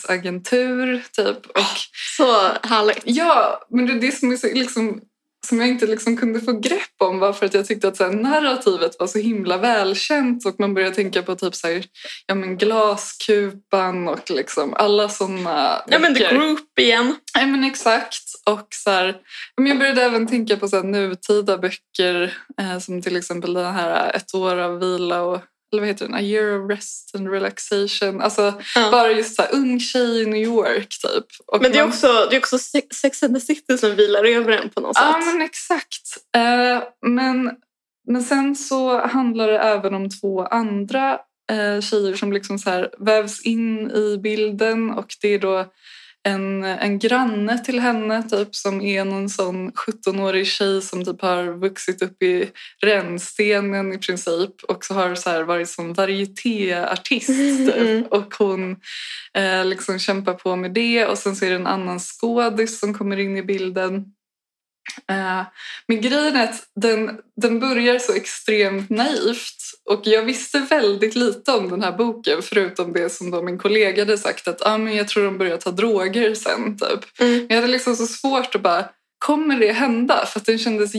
[SPEAKER 2] showbusiness-agentur typ. Och
[SPEAKER 3] Så härligt.
[SPEAKER 2] Ja, men det är det som, är så, liksom, som jag inte liksom kunde få grepp om var för att jag tyckte att så här, narrativet var så himla välkänt och man började tänka på typ så här, ja, men glaskupan och liksom alla sådana
[SPEAKER 3] Ja, men The Group igen.
[SPEAKER 2] Nej, men exakt. Och så här, men jag började även tänka på så här, nutida böcker eh, som till exempel den här Ett år av vila och eller vad heter den? A year of rest and relaxation. Alltså
[SPEAKER 3] Ja.
[SPEAKER 2] bara just så här, ung tjej i New York typ. Och
[SPEAKER 3] Men det är
[SPEAKER 2] man-
[SPEAKER 3] också, det är också Se- Sex and the City som vilar över en på något
[SPEAKER 2] Ja,
[SPEAKER 3] sätt.
[SPEAKER 2] men exakt. Eh, men, men sen så handlar det även om två andra eh, tjejer som liksom så här vävs in i bilden och det är då en, en granne till henne typ, som är någon sån 17-årig tjej som typ har vuxit upp i rännstenen i princip och så har så här varit som varietéartist. Typ.
[SPEAKER 3] Mm.
[SPEAKER 2] Och hon eh, liksom kämpar på med det och sen så är det en annan skådis som kommer in i bilden. Eh, men grejen är att den, den börjar så extremt naivt och jag visste väldigt lite om den här boken förutom det som då min kollega hade sagt att ah, men jag tror de börjar ta droger sen. Typ.
[SPEAKER 3] Mm.
[SPEAKER 2] Jag hade liksom så svårt att bara, kommer det hända? För att den kändes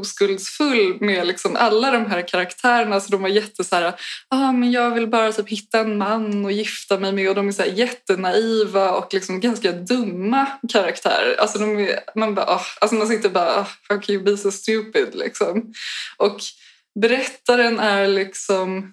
[SPEAKER 2] jätteoskuldsfull med liksom alla de här karaktärerna. Så de var jätte så här, ah, men jag vill bara typ hitta en man och gifta mig med. Och de är så här jättenaiva och liksom ganska dumma karaktärer. Alltså de är, man, bara, ah, alltså man sitter bara, ah, how can you be so stupid? Liksom. Och berättaren är liksom...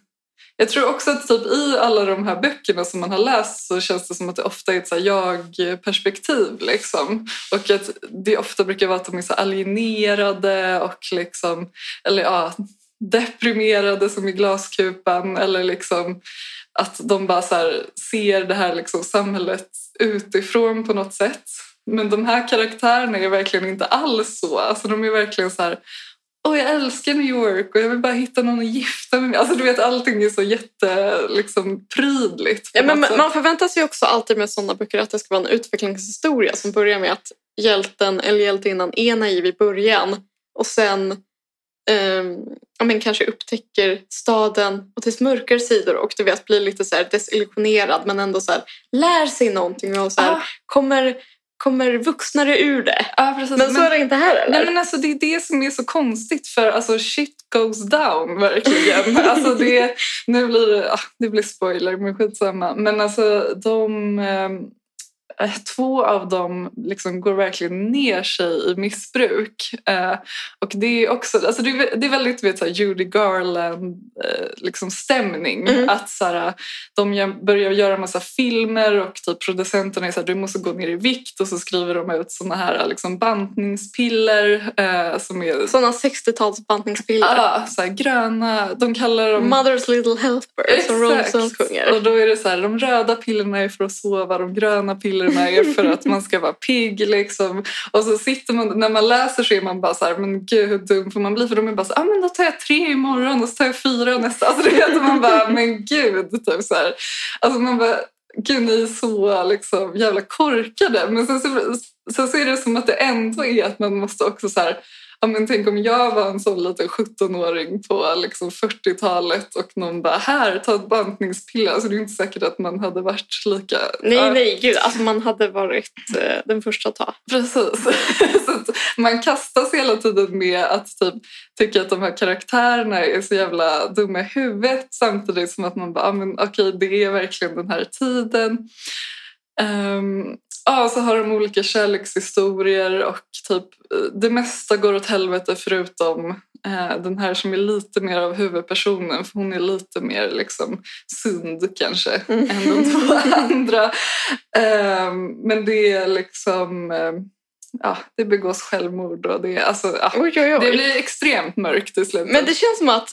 [SPEAKER 2] Jag tror också att typ i alla de här böckerna som man har läst så känns det som att det ofta är ett så här jag-perspektiv. Liksom. Och att det ofta brukar vara att de är så alienerade och liksom, eller ja, deprimerade som i glaskupan eller liksom att de bara så här ser det här liksom samhället utifrån på något sätt. Men de här karaktärerna är verkligen inte alls så. Alltså de är verkligen så här Åh, jag älskar New York och jag vill bara hitta någon att gifta mig med. Alltså du vet, allting är så jätte, liksom, prydligt. på
[SPEAKER 3] Ja, men
[SPEAKER 2] något
[SPEAKER 3] man
[SPEAKER 2] sätt.
[SPEAKER 3] man förväntar sig också alltid med sådana böcker att det ska vara en utvecklingshistoria som börjar med att hjälten eller hjältinnan är naiv i början och sen ehm, ja, men kanske upptäcker staden och dess mörkare sidor och du vet blir lite så här desillusionerad men ändå så här, lär sig någonting och så här,
[SPEAKER 2] Ah.
[SPEAKER 3] kommer, kommer vuxnare ur det.
[SPEAKER 2] Ja, precis.
[SPEAKER 3] Men, så är det inte här eller?
[SPEAKER 2] Nej, men alltså, det är det som är så konstigt, för alltså, shit goes down (laughs) verkligen. alltså, det, nu blir det, ah, det blir spoiler, men skitsamma. Men alltså, de, eh, två av dem liksom går verkligen ner sig i missbruk. Eh, och det är också, alltså, det, är, det är väldigt du vet, så här, Judy Garland-stämning. liksom stämning.
[SPEAKER 3] Mm.
[SPEAKER 2] Att så här, de gör- börjar göra massa filmer och typ producenterna är så här, du måste gå ner i vikt och så skriver de ut såna här liksom bantningspiller eh, som är
[SPEAKER 3] Sådana 60-tals bantningsbilder.
[SPEAKER 2] ah, så här, gröna. De kallar dem...
[SPEAKER 3] Mother's Alltså little helper som Rolling Stones sjunger.
[SPEAKER 2] Och då är det så här, de röda pillerna är för att sova, de gröna bilderna är för att man ska vara pigg. Liksom. Och så sitter man, när man läser så är man bara så här, men gud hur dum får man bli? För de är bara så här, ah, men då tar jag tre imorgon och så tar jag fyra nästa. Alltså, du vet, man bara, men gud. Typ så här. Alltså, man bara, gud ni är så liksom, jävla korkade. Men sen så, sen så är det som att det ändå är att man måste också så här, ja, men tänk om jag var en sån liten 17-åring på liksom 40-talet och någon bara här, ta ett bantningspiller. Alltså, det är inte säkert att man hade varit lika...
[SPEAKER 3] Nej,
[SPEAKER 2] Ja,
[SPEAKER 3] nej, gud. Alltså man hade varit eh, den första att ta.
[SPEAKER 2] Precis. (laughs) så att man kastas hela tiden med att typ, tycka att de här karaktärerna är så jävla dumma i huvudet samtidigt som att man bara, ah, men okej, det är verkligen den här tiden. Um, ja, så har de olika kärlekshistorier och typ eh, det mesta går åt helvete förutom eh, den här som är lite mer av huvudpersonen för hon är lite mer liksom sund kanske
[SPEAKER 3] Mm.
[SPEAKER 2] än de två (laughs) andra. Ehm, men det är liksom, eh, ja, det begås självmord och det, är- alltså, ja,
[SPEAKER 3] Oj, (laughs) oj,
[SPEAKER 2] det
[SPEAKER 3] oj.
[SPEAKER 2] blir extremt mörkt i slutet.
[SPEAKER 3] Men det känns som att...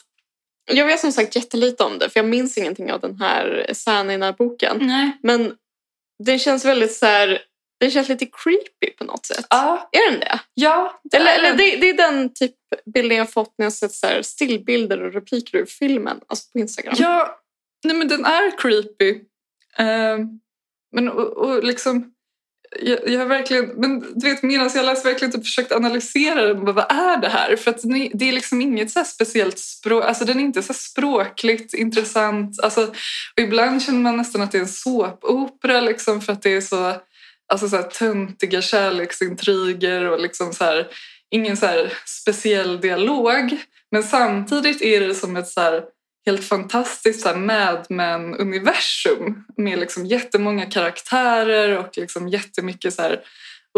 [SPEAKER 3] Jag vet som sagt jättelite om det, för jag minns ingenting av den här scenen i den här boken.
[SPEAKER 2] Nej.
[SPEAKER 3] Men det känns väldigt så här... Det känns lite creepy på något sätt.
[SPEAKER 2] Ja,
[SPEAKER 3] Är den det?
[SPEAKER 2] ja, det
[SPEAKER 3] Eller,
[SPEAKER 2] är
[SPEAKER 3] eller
[SPEAKER 2] den.
[SPEAKER 3] det, det är den typ bilden jag fått när jag sett så här stillbilder och repliker ur filmen alltså på Instagram.
[SPEAKER 2] Ja, nej men den är creepy. Ehm, men och, och liksom... Jag, jag har verkligen, men du vet, medan jag läste verkligen typ försökt analysera den. Bara, vad är det här? För att ni- det är liksom inget så här speciellt språk. Alltså den är inte så här språkligt intressant. Alltså, och ibland känner man nästan att det är en såpopera liksom, för att det är så, alltså, så här, töntiga kärleksintriger och liksom så här, ingen så här, speciell dialog. Men samtidigt är det som ett så här, helt fantastiskt så här Mad Men-universum med liksom jättemånga karaktärer och liksom jättemycket så här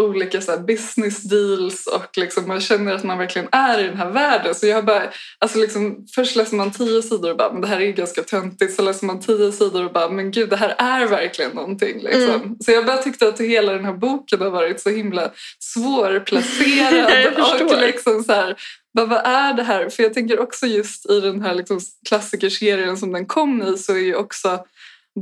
[SPEAKER 2] olika så här business deals och liksom man känner att man verkligen är i den här världen. Så jag har bara, alltså liksom, först läser man tio sidor och bara men det här är ganska töntigt. Så läser man tio sidor och bara men gud det här är verkligen någonting. Liksom. Så jag bara tyckte att hela den här boken har varit så himla
[SPEAKER 3] Jag
[SPEAKER 2] svårplacerad.
[SPEAKER 3] förstår.
[SPEAKER 2] och liksom så här, bara, vad är det här? För jag tänker också just i den här liksom klassikerserien som den kom i så är ju också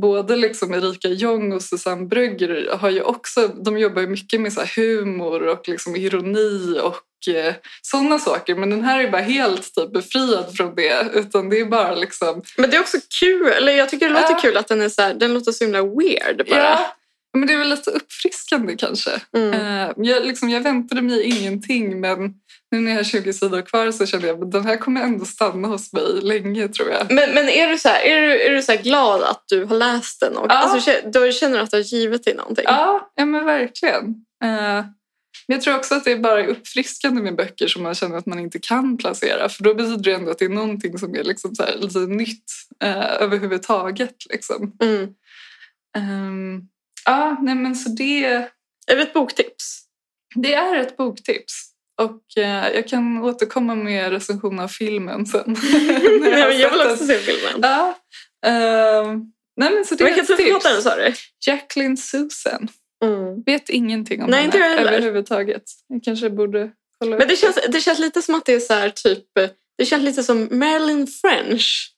[SPEAKER 2] både liksom Erika Jong och Susanne Brögger har ju också, de jobbar ju mycket med så här humor och liksom ironi och eh, sådana saker. Men den här är bara helt typ befriad från det. Utan det är bara liksom...
[SPEAKER 3] Men det är också kul, eller jag tycker det låter
[SPEAKER 2] Ja.
[SPEAKER 3] kul att den är så här, den låter så himla weird bara.
[SPEAKER 2] Ja, men det är väl lite uppfriskande kanske.
[SPEAKER 3] Mm.
[SPEAKER 2] Eh, Jag, liksom, jag väntade mig ingenting men nu när jag har 20 sidor kvar så känner jag att den här kommer ändå stanna hos mig länge tror jag.
[SPEAKER 3] Men, men är du så här, är du, är du så här glad att du har läst den? Och,
[SPEAKER 2] Ja.
[SPEAKER 3] alltså, kä- då känner du att det har givit dig någonting?
[SPEAKER 2] Ja, ja men verkligen. Eh, Men jag tror också att det är bara uppfriskande med böcker som man känner att man inte kan placera. För då betyder det ändå att det är någonting som är liksom så här, lite nytt eh, överhuvudtaget. Liksom.
[SPEAKER 3] Mm.
[SPEAKER 2] Ehm, ja, nej men så det,
[SPEAKER 3] Är det
[SPEAKER 2] (laughs)
[SPEAKER 3] ett boktips?
[SPEAKER 2] det är ett boktips. Och eh, jag kan återkomma med recension av filmen sen. (laughs) När jag har
[SPEAKER 3] Nej, men jag
[SPEAKER 2] sett
[SPEAKER 3] vill
[SPEAKER 2] den.
[SPEAKER 3] också se filmen.
[SPEAKER 2] Ja. ehm, nej men så det är
[SPEAKER 3] Vilken
[SPEAKER 2] ett tips.
[SPEAKER 3] författare sa du?
[SPEAKER 2] Jacqueline Susan.
[SPEAKER 3] Mm.
[SPEAKER 2] Vet ingenting om
[SPEAKER 3] Nej,
[SPEAKER 2] henne
[SPEAKER 3] inte jag heller.
[SPEAKER 2] överhuvudtaget. Jag kanske borde kolla
[SPEAKER 3] Men
[SPEAKER 2] upp
[SPEAKER 3] det känns, det känns lite som att det är så här typ, eh, det känns lite som Marilyn French.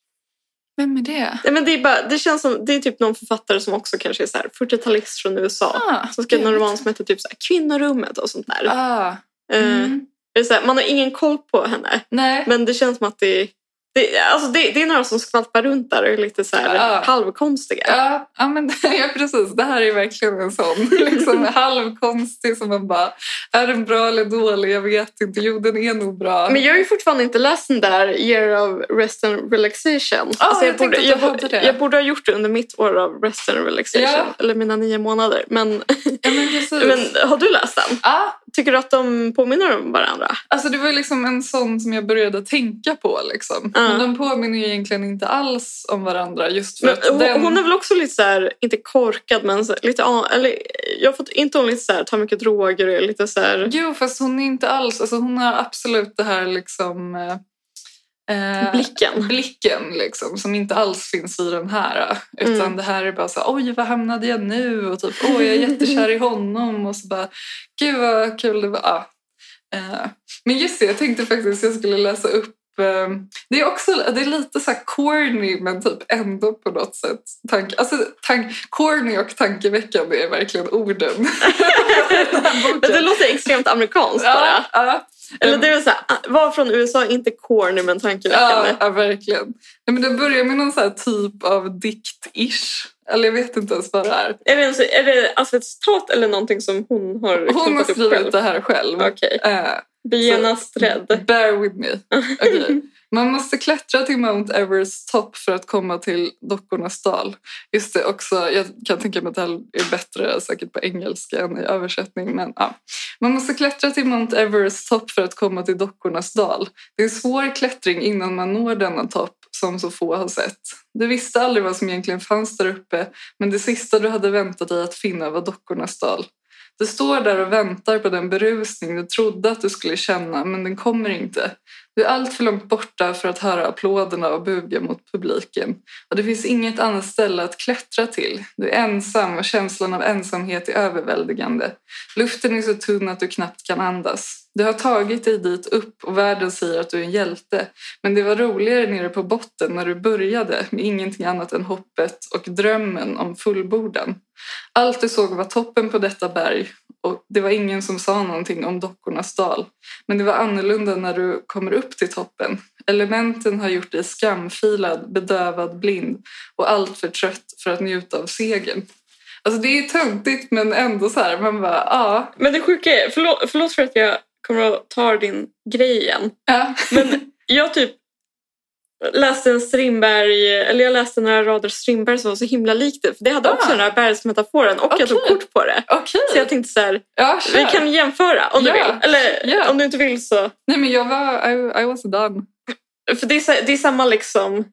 [SPEAKER 2] Vem är det?
[SPEAKER 3] Nej, men det, är bara, det känns som, det är typ någon författare som också kanske är så här 40-talist från USA.
[SPEAKER 2] Ah,
[SPEAKER 3] Som skrev någon
[SPEAKER 2] gud.
[SPEAKER 3] roman som heter typ så här Kvinnorummet och sånt där.
[SPEAKER 2] Ah,
[SPEAKER 3] Eh,
[SPEAKER 2] mm.
[SPEAKER 3] det är så här, man har ingen koll på henne.
[SPEAKER 2] Nej.
[SPEAKER 3] Men det känns som att det, det, alltså det, det är några som skvalpar runt där och är lite så här
[SPEAKER 2] Ja.
[SPEAKER 3] halvkonstiga.
[SPEAKER 2] Ja, ja, men, (laughs) ja, precis. Det här är verkligen en sån (laughs) liksom, halvkonstig som man bara, är den bra eller dålig? Jag vet inte. Jo, den är nog bra.
[SPEAKER 3] Men jag har ju fortfarande inte läst den där Year of Rest and Relaxation. Alltså,
[SPEAKER 2] Ah, jag
[SPEAKER 3] jag, borde,
[SPEAKER 2] tänkte att du
[SPEAKER 3] jag,
[SPEAKER 2] hade
[SPEAKER 3] borde,
[SPEAKER 2] det.
[SPEAKER 3] jag borde ha gjort det under mitt år av Rest and Relaxation.
[SPEAKER 2] Ja.
[SPEAKER 3] Eller mina nio månader. Men,
[SPEAKER 2] ja, men, precis.
[SPEAKER 3] men har du läst den?
[SPEAKER 2] Ah,
[SPEAKER 3] Tycker du att de påminner om varandra?
[SPEAKER 2] Alltså det var ju liksom en sån som jag började tänka på. Liksom.
[SPEAKER 3] Ja.
[SPEAKER 2] Men de påminner ju egentligen inte alls om varandra. Just för
[SPEAKER 3] Men,
[SPEAKER 2] att
[SPEAKER 3] hon,
[SPEAKER 2] den...
[SPEAKER 3] hon är väl också lite så här, inte korkad men så, lite, an- eller jag har fått inte hon lite så här, tar mycket droger och är lite så här
[SPEAKER 2] Jo, fast hon är inte alls... Alltså hon har absolut det här liksom... eh, eh,
[SPEAKER 3] blicken.
[SPEAKER 2] blicken liksom, som inte alls finns i den här. Utan
[SPEAKER 3] Mm.
[SPEAKER 2] det här är bara så här, oj vad hamnade jag nu? Och typ, oj
[SPEAKER 3] (laughs)
[SPEAKER 2] jag är jättekär i honom. Och så bara, gud vad kul det var. Ja. Eh, Men just det, jag tänkte faktiskt jag skulle läsa upp eh, det är också det är lite så här corny men typ ändå på något sätt. Tank, alltså, tank, corny och tankeväckande är verkligen orden.
[SPEAKER 3] (laughs)
[SPEAKER 2] Den här boken.
[SPEAKER 3] Det låter extremt amerikanskt bara.
[SPEAKER 2] ja, ja,
[SPEAKER 3] Eller det är väl så här, var från USA, inte corny men tankeväckande.
[SPEAKER 2] ja, ja, verkligen. Nej, men det börjar med någon så här typ av dikt-ish. Eller jag vet inte ens vad det är.
[SPEAKER 3] Är det, en, så- är det alltså ett citat eller någonting som hon har
[SPEAKER 2] Hon har
[SPEAKER 3] knoppat upp själv?
[SPEAKER 2] skrivit det här själv.
[SPEAKER 3] Okej.
[SPEAKER 2] Eh,
[SPEAKER 3] Bli genast rädd.
[SPEAKER 2] Bear with
[SPEAKER 3] (laughs)
[SPEAKER 2] me. Okej. Man måste klättra till Mount Everests topp för att komma till dockornas dal. Just det, också, jag kan tänka mig att det här är bättre säkert på engelska än i översättning. Men, ja. Man måste klättra till Mount Everests topp för att komma till dockornas dal. Det är svår klättring innan man når denna topp som så få har sett. Du visste aldrig vad som egentligen fanns där uppe men det sista du hade väntat dig att finna var dockornas dal. Du står där och väntar på den berusning du trodde att du skulle känna, men den kommer inte. Du är allt för långt borta för att höra applåderna och buga mot publiken. Och det finns inget annat ställe att klättra till. Du är ensam och känslan av ensamhet är överväldigande. Luften är så tunn att du knappt kan andas. Du har tagit dig dit upp och världen säger att du är en hjälte. Men det var roligare nere på botten när du började med ingenting annat än hoppet och drömmen om fullbordan. Allt du såg var toppen på detta berg och det var ingen som sa någonting om dockornas dal. Men det var annorlunda när du kommer upp till toppen. Elementen har gjort dig skamfilad, bedövad, blind och allt för trött för att njuta av segern. Alltså det är töntigt men ändå så här, man bara ja.
[SPEAKER 3] Men det sjuka är, förlåt, förlåt för att jag kommer att ta din grej igen.
[SPEAKER 2] ja.
[SPEAKER 3] Men jag typ läste en Strindberg, eller jag läste några rader Strindberg som var så himla likt det. För det hade också
[SPEAKER 2] Ah.
[SPEAKER 3] den här bergsmetaforen och jag tog
[SPEAKER 2] Okej.
[SPEAKER 3] kort på det.
[SPEAKER 2] Okej,
[SPEAKER 3] Så jag tänkte så här,
[SPEAKER 2] ja
[SPEAKER 3] vi
[SPEAKER 2] kör.
[SPEAKER 3] kan jämföra om
[SPEAKER 2] Ja.
[SPEAKER 3] du vill. Eller
[SPEAKER 2] Ja.
[SPEAKER 3] om du inte vill så.
[SPEAKER 2] Nej men jag var, I, I was done.
[SPEAKER 3] För det är, sa- det är samma liksom,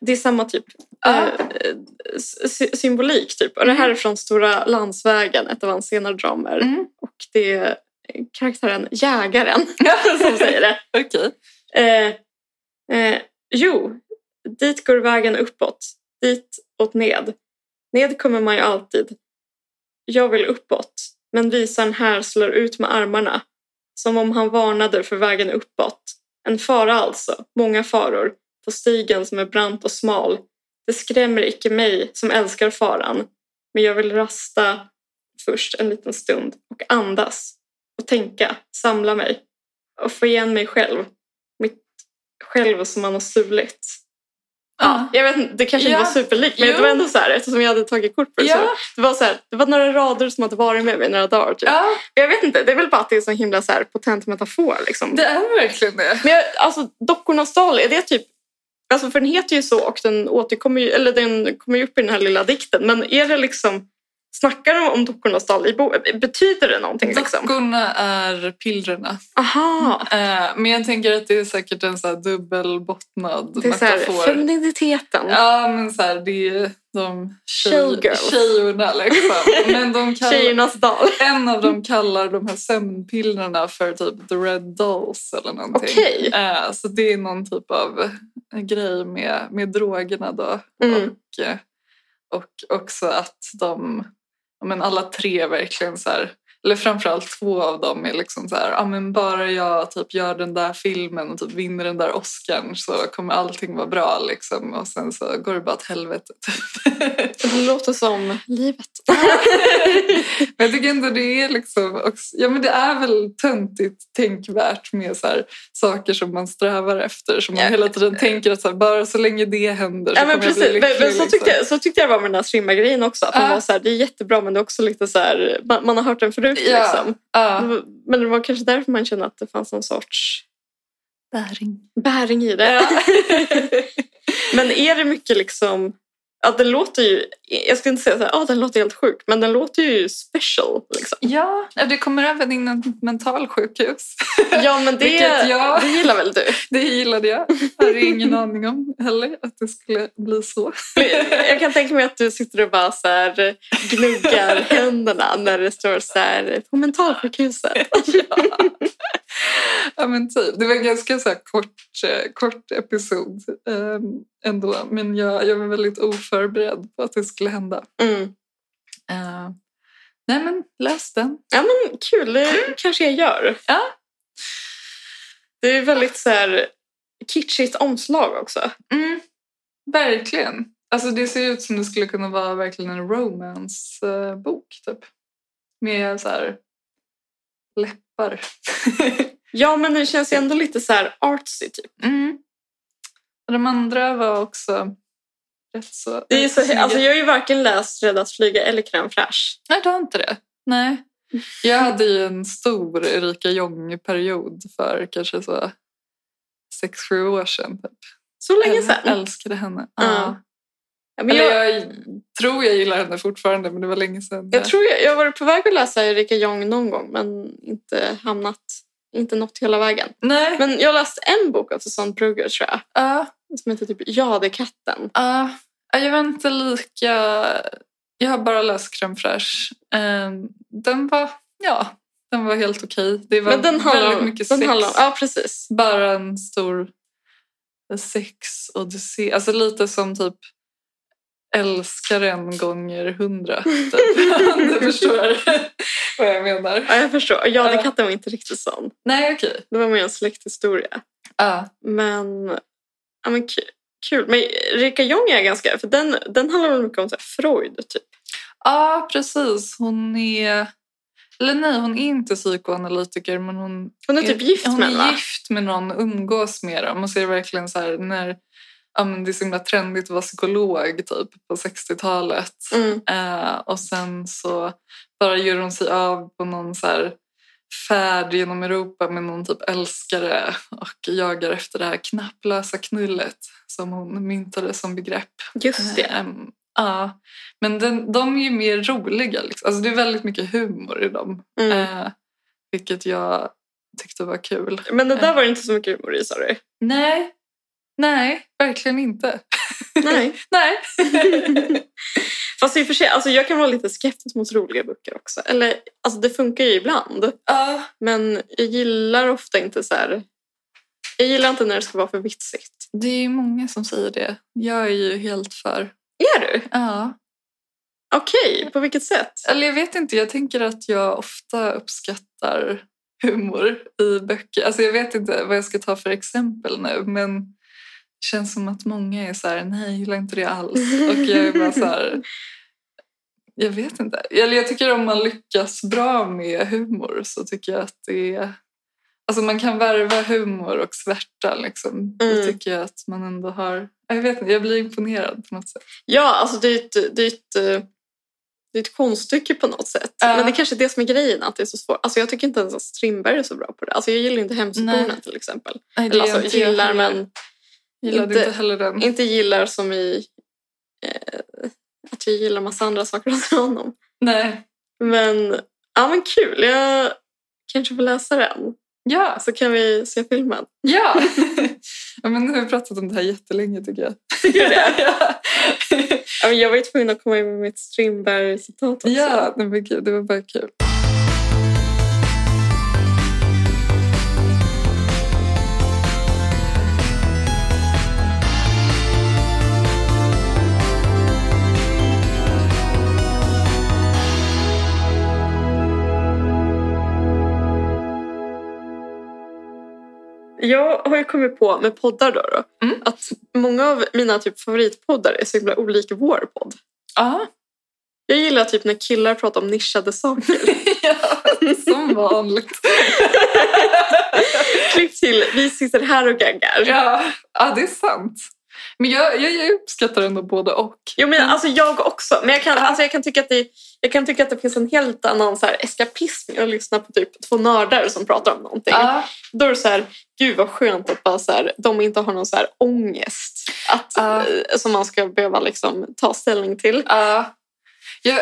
[SPEAKER 3] det är samma typ
[SPEAKER 2] Ja.
[SPEAKER 3] eh, s- sy- symbolik typ. Och det här är från Stora landsvägen, ett av hans senare dramer.
[SPEAKER 2] Mm.
[SPEAKER 3] Och det är karaktären Jägaren som säger det.
[SPEAKER 2] Okej.
[SPEAKER 3] Eh, eh, jo, dit går vägen uppåt, dit åt ned. Ned kommer man ju alltid. Jag vill uppåt, men visaren här slår ut med armarna. Som om han varnade för vägen uppåt. En fara alltså, många faror, på stigen som är brant och smal. Det skrämmer icke mig som älskar faran, men jag vill rasta först en liten stund och andas och tänka, samla mig och få igen mig själv själv som man har stulit.
[SPEAKER 2] Ja.
[SPEAKER 3] Jag vet inte, det kanske
[SPEAKER 2] Ja.
[SPEAKER 3] inte var superlikt men
[SPEAKER 2] Jo.
[SPEAKER 3] det var ändå så här eftersom jag hade tagit kort på det.
[SPEAKER 2] Ja.
[SPEAKER 3] Så det, var så här, det var några rader som hade varit med mig några dagar. Typ.
[SPEAKER 2] ja,
[SPEAKER 3] Men Jag vet inte, det är väl bara att det är en sån himla så här, potent metafor. Liksom.
[SPEAKER 2] det är verkligen det.
[SPEAKER 3] Men jag, alltså Dockornas dal, är det typ... Alltså för den heter ju så och den återkommer ju, eller den kommer ju upp i den här lilla dikten. Men är det liksom, snackar de om Dockornas dal i boken? Betyder det någonting liksom?
[SPEAKER 2] Dockorna är pillrorna.
[SPEAKER 3] Aha!
[SPEAKER 2] Eh, men jag tänker att det är säkert en så här dubbelbottnad
[SPEAKER 3] Det är så här,
[SPEAKER 2] metafor.
[SPEAKER 3] femininiteten.
[SPEAKER 2] Ja, men så här, det är de tjej,
[SPEAKER 3] Showgirls.
[SPEAKER 2] tjejorna liksom. Men
[SPEAKER 3] (laughs)
[SPEAKER 2] de kallar,
[SPEAKER 3] Tjejernas dal.
[SPEAKER 2] en av dem kallar de här sömnpillerna för typ the red dolls eller någonting.
[SPEAKER 3] Okej.
[SPEAKER 2] Eh, så det är någon typ av grej med, med drogerna då.
[SPEAKER 3] Mm.
[SPEAKER 2] Och, eh, och också att de, ja, men alla tre verkligen så här, eller framförallt två av dem är liksom så här, ah, men bara jag typ gör den där filmen och typ vinner den där Oscarn så kommer allting vara bra liksom. Och sen så går det bara åt helvete. typ. (laughs)
[SPEAKER 3] Det låter som livet.
[SPEAKER 2] Men jag tycker ändå det är liksom också, ja men det är väl töntigt tänkvärt med så här, saker som man strävar efter. Som man
[SPEAKER 3] Ja.
[SPEAKER 2] hela tiden tänker att så här, bara så länge det händer så
[SPEAKER 3] Ja, men
[SPEAKER 2] kommer
[SPEAKER 3] precis.
[SPEAKER 2] jag bli
[SPEAKER 3] Men,
[SPEAKER 2] lycklig.
[SPEAKER 3] men så, tyckte jag, så tyckte jag det var med den här Strindberg-grejen också. Att man
[SPEAKER 2] Ja.
[SPEAKER 3] var så här, det är jättebra men det är också lite så här, man, man har hört den förut
[SPEAKER 2] Ja.
[SPEAKER 3] liksom.
[SPEAKER 2] Ja.
[SPEAKER 3] Men det var kanske därför man kände att det fanns någon sorts
[SPEAKER 2] Bäring.
[SPEAKER 3] bäring i det.
[SPEAKER 2] Ja.
[SPEAKER 3] (laughs) men är det mycket liksom, att den låter ju, jag ska inte säga så här, "Ah, den låter helt sjuk, men den låter ju special liksom.
[SPEAKER 2] Ja, det kommer även in en mentalsjukhus.
[SPEAKER 3] Ja men det,
[SPEAKER 2] Vilket jag-
[SPEAKER 3] det gillar väl du?
[SPEAKER 2] Det gillade jag. Jag hade ingen aning om heller att det skulle bli så.
[SPEAKER 3] Jag kan tänka mig att du sitter och bara så här gnuggar händerna när det står så här på mentalsjukhuset.
[SPEAKER 2] Ja, men typ. Det var en ganska så här kort, eh, kort episod eh, ändå. Men jag, jag var väldigt oförberedd på att det skulle hända.
[SPEAKER 3] Mm.
[SPEAKER 2] Eh, nej men läs den.
[SPEAKER 3] Ja men kul, det kanske jag gör.
[SPEAKER 2] Ja.
[SPEAKER 3] Det är väldigt så här kitschigt omslag också.
[SPEAKER 2] Mm, verkligen. Alltså det ser ut som det skulle kunna vara verkligen en romance-bok typ. Med så här läppar. (laughs)
[SPEAKER 3] Ja, men den känns ju ändå lite så här artsy typ.
[SPEAKER 2] mm. Och de andra var också rätt så...
[SPEAKER 3] Det är ju så,
[SPEAKER 2] snygga.
[SPEAKER 3] alltså, jag har ju varken läst Rädd att flyga eller Crème Fraîche.
[SPEAKER 2] Nej, du har inte det? Nej. Jag hade ju en stor Erika Jong-period för kanske så sex, sju år sedan. Typ.
[SPEAKER 3] Så länge
[SPEAKER 2] Jag
[SPEAKER 3] sedan.
[SPEAKER 2] älskade henne.
[SPEAKER 3] Ja.
[SPEAKER 2] Ja.
[SPEAKER 3] Ja, men
[SPEAKER 2] Eller
[SPEAKER 3] jag,
[SPEAKER 2] jag... tror jag gillar henne fortfarande, men det var länge sedan.
[SPEAKER 3] jag tror jag, jag var på väg att läsa Erika Jong någon gång men inte hamnat, inte nått hela vägen.
[SPEAKER 2] Nej,
[SPEAKER 3] Men jag läste en bok av Susanne Brugger tror jag.
[SPEAKER 2] ja.
[SPEAKER 3] Som heter typ Ja, det är katten.
[SPEAKER 2] Ja, jag var inte lika... Jag har bara läst crème fraîche. Eh, den var... Ja, den var helt okej. Det var
[SPEAKER 3] Men den handlar
[SPEAKER 2] väldigt
[SPEAKER 3] om...
[SPEAKER 2] mycket
[SPEAKER 3] den
[SPEAKER 2] sex.
[SPEAKER 3] handlar om ja, precis.
[SPEAKER 2] Bara en stor eh, sex och du ser... Alltså lite som typ älskaren gånger hundra.
[SPEAKER 3] (laughs)
[SPEAKER 2] Typ. Om du förstår vad jag menar.
[SPEAKER 3] Ja, jag förstår. Ja, det
[SPEAKER 2] Ja.
[SPEAKER 3] katten var inte riktigt sån.
[SPEAKER 2] Nej, okej.
[SPEAKER 3] Det var mer en släkthistoria.
[SPEAKER 2] Ja.
[SPEAKER 3] Men, ja, men kul. kul. Men Erika Jong är ganska... För den, den handlar väl mycket om så här, Freud, typ.
[SPEAKER 2] ja, precis. Hon är... Eller nej, hon är inte psykoanalytiker men hon
[SPEAKER 3] Hon är typ gift
[SPEAKER 2] hon
[SPEAKER 3] med en,
[SPEAKER 2] är
[SPEAKER 3] va?
[SPEAKER 2] gift med någon och umgås med dem. Och så är det verkligen så här när ja, men det är så himla trendigt att vara psykolog typ på 60-talet.
[SPEAKER 3] Mm.
[SPEAKER 2] Eh, och sen så bara gör hon sig av på någon så här färd genom Europa med någon typ älskare och jagar efter det här knapplösa knullet som hon myntade som begrepp.
[SPEAKER 3] Just det.
[SPEAKER 2] Ehm, Ja, men den, de är ju mer roliga. Liksom. Alltså det är väldigt mycket humor i dem.
[SPEAKER 3] Mm.
[SPEAKER 2] Eh, vilket jag tyckte var kul.
[SPEAKER 3] Men det där var det inte så mycket humor i, sa du?
[SPEAKER 2] Nej, nej, verkligen inte.
[SPEAKER 3] (laughs) Nej.
[SPEAKER 2] Nej.
[SPEAKER 3] (laughs) Fast i och för sig, alltså jag kan vara lite skeptisk mot roliga böcker också. Eller, alltså det funkar ju ibland.
[SPEAKER 2] Ja,
[SPEAKER 3] Men jag gillar ofta inte så här... Jag gillar inte när det ska vara för vitsigt.
[SPEAKER 2] det är ju många som säger det. Jag är ju helt för.
[SPEAKER 3] Är du?
[SPEAKER 2] Ja.
[SPEAKER 3] Okej, på vilket sätt?
[SPEAKER 2] Eller jag vet inte, jag tänker att jag ofta uppskattar humor i böcker. Alltså jag vet inte vad jag ska ta för exempel nu, men det känns som att många är så här, nej, jag gillar inte det alls. Och jag är bara så här, jag vet inte. Eller jag tycker om man lyckas bra med humor så tycker jag att det är... Alltså man kan värva humor och svärta liksom. Då
[SPEAKER 3] Mm.
[SPEAKER 2] tycker jag att man ändå har... Jag vet inte, jag blir imponerad på något sätt.
[SPEAKER 3] Ja, alltså det är ett, det är ett, eh, det är ett konststycke på något sätt.
[SPEAKER 2] Ja.
[SPEAKER 3] Men det är kanske är det som är grejen, att det är så svårt. Alltså jag tycker inte ens att Strindberg är så bra på det. Alltså jag gillar inte Hemsöborna
[SPEAKER 2] Nej.
[SPEAKER 3] till exempel.
[SPEAKER 2] Nej, det
[SPEAKER 3] Eller
[SPEAKER 2] är
[SPEAKER 3] alltså
[SPEAKER 2] inte jag
[SPEAKER 3] gillar
[SPEAKER 2] heller.
[SPEAKER 3] men
[SPEAKER 2] Gillade
[SPEAKER 3] inte-
[SPEAKER 2] inte, heller den.
[SPEAKER 3] inte gillar som i eh, att jag gillar massa andra saker (laughs) hos honom.
[SPEAKER 2] Nej.
[SPEAKER 3] Men, ja men kul. Jag kanske får läsa den.
[SPEAKER 2] Ja,
[SPEAKER 3] Så kan vi se filmen.
[SPEAKER 2] ja. (laughs) ja men nu har vi pratat om det här jättelänge tycker jag.
[SPEAKER 3] Tycker du det?
[SPEAKER 2] ja,
[SPEAKER 3] Ja, men jag var ju tvungen att komma in med mitt Strindberg-citat också.
[SPEAKER 2] ja nej, men gud, det var bara kul.
[SPEAKER 3] Jag har ju kommit på med poddar då, då
[SPEAKER 2] Mm.
[SPEAKER 3] att många av mina typ favoritpoddar är så himla olika vår podd.
[SPEAKER 2] Ja,
[SPEAKER 3] Jag gillar typ när killar pratar om nischade saker.
[SPEAKER 2] (laughs)
[SPEAKER 3] (laughs)
[SPEAKER 2] ja som vanligt.
[SPEAKER 3] Klipp till vi sitter här och gaggar.
[SPEAKER 2] (laughs) ja. ja, det är sant. Men jag, jag, jag uppskattar ändå både och.
[SPEAKER 3] Jo, men alltså jag också. Men jag kan, alltså jag kan, tycka, att det, jag kan tycka att det finns en helt annan så här eskapism i att lyssna på typ två nördar som pratar om någonting.
[SPEAKER 2] Ja,
[SPEAKER 3] Då är det så här, gud vad skönt att bara så här, de inte har någon så här ångest att,
[SPEAKER 2] Ja.
[SPEAKER 3] eh, som man ska behöva liksom ta ställning till.
[SPEAKER 2] ja. Jag,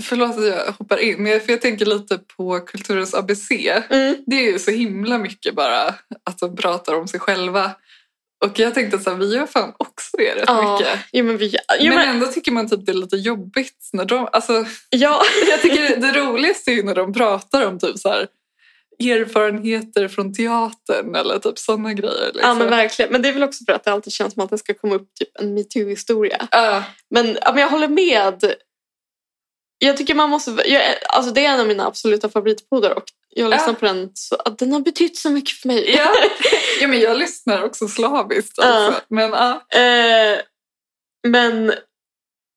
[SPEAKER 2] förlåt att jag hoppar in, men jag, för jag tänker lite på Kulturens ABC.
[SPEAKER 3] Mm.
[SPEAKER 2] det är ju så himla mycket bara att de pratar om sig själva. Och jag tänkte så här, vi gör fan också det rätt
[SPEAKER 3] Ja,
[SPEAKER 2] mycket.
[SPEAKER 3] Jo, men vi, jo,
[SPEAKER 2] men,
[SPEAKER 3] men,
[SPEAKER 2] ändå tycker man typ det är lite jobbigt när de... Alltså, (laughs)
[SPEAKER 3] ja.
[SPEAKER 2] jag tycker det roligaste är ju när de pratar om typ så här, erfarenheter från teatern eller typ sådana grejer. Liksom.
[SPEAKER 3] Ja men verkligen. Men det är väl också för att det alltid känns som att det ska komma upp typ en metoo-historia.
[SPEAKER 2] Ja,
[SPEAKER 3] Men, ja, men jag håller med. Jag tycker man måste... Jag, alltså det är en av mina absoluta favoritpoddar och Jag lyssnar på den så att den har betytt så mycket för mig.
[SPEAKER 2] Ja. (laughs) ja, men jag lyssnar också slaviskt. Alltså.
[SPEAKER 3] Ja.
[SPEAKER 2] Men ja,
[SPEAKER 3] Eh, men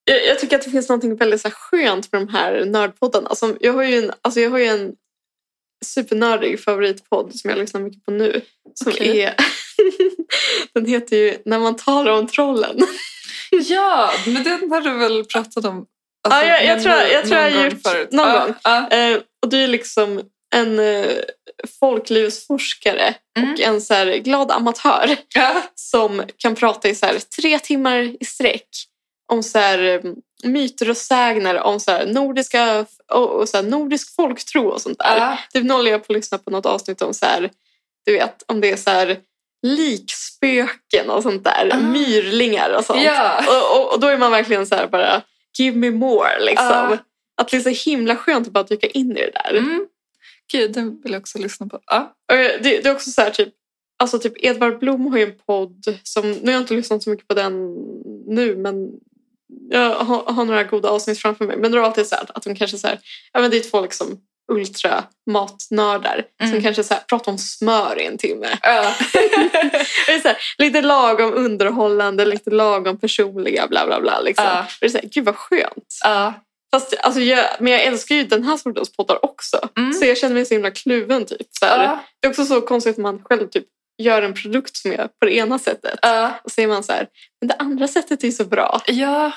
[SPEAKER 3] jag, jag tycker att det finns något väldigt så här, skönt med de här nördpoddarna. Alltså, jag, har ju en, alltså, jag har ju en supernördig favoritpodd som jag lyssnar mycket på nu. Som
[SPEAKER 2] Okej.
[SPEAKER 3] är... (laughs) den heter ju När man talar om trollen.
[SPEAKER 2] ja men den har du väl pratat om? alltså,
[SPEAKER 3] Ja, jag- jag
[SPEAKER 2] men
[SPEAKER 3] tror- jag
[SPEAKER 2] nå-
[SPEAKER 3] tror jag
[SPEAKER 2] någon
[SPEAKER 3] har
[SPEAKER 2] gång
[SPEAKER 3] gjort-
[SPEAKER 2] förut.
[SPEAKER 3] någon
[SPEAKER 2] Ja,
[SPEAKER 3] gång.
[SPEAKER 2] ja.
[SPEAKER 3] Eh, och det är liksom en eh, folklivsforskare
[SPEAKER 2] Mm.
[SPEAKER 3] och en så här, glad amatör
[SPEAKER 2] Ja.
[SPEAKER 3] som kan prata i så här, tre timmar i sträck om så här, mm, myter och sägner om så här, nordiska, och, och så här, nordisk folktro och sånt där.
[SPEAKER 2] Ja.
[SPEAKER 3] Typ nu håller jag på att lyssna på något avsnitt om så här, du vet, om det är så här, likspöken och sånt där,
[SPEAKER 2] Ah.
[SPEAKER 3] myrlingar och sånt.
[SPEAKER 2] Ja.
[SPEAKER 3] Och, och, och då är man verkligen så här bara, give me more liksom.
[SPEAKER 2] Ah.
[SPEAKER 3] Att det är så himla skönt att bara dyka in i det där.
[SPEAKER 2] Mm. Gud, den vill jag också lyssna på. Ja.
[SPEAKER 3] Och Det, det är också så här typ, alltså typ Edvard Blom har ju en podd som, nu har jag inte lyssnat så mycket på den nu men jag har, har några goda avsnitt framför mig. Men då är det alltid så här att de kanske så här, ja men det är två liksom ultra matnördar
[SPEAKER 2] Mm.
[SPEAKER 3] som kanske så här, pratar om smör i en timme. (laughs)
[SPEAKER 2] Ja.
[SPEAKER 3] Det är så här, lite lagom underhållande, lite lagom personliga bla bla bla. Liksom.
[SPEAKER 2] Ja.
[SPEAKER 3] Och det är så här, gud vad skönt.
[SPEAKER 2] Ja.
[SPEAKER 3] Fast, alltså, jag, men jag älskar ju den här sortens poddar också.
[SPEAKER 2] Mm.
[SPEAKER 3] Så jag känner mig så himla kluven typ. Så här,
[SPEAKER 2] Ja.
[SPEAKER 3] det är också så konstigt att man själv typ gör en produkt som är på det ena sättet.
[SPEAKER 2] Ja.
[SPEAKER 3] Och säger man så här, men det andra sättet är ju så bra.
[SPEAKER 2] Ja.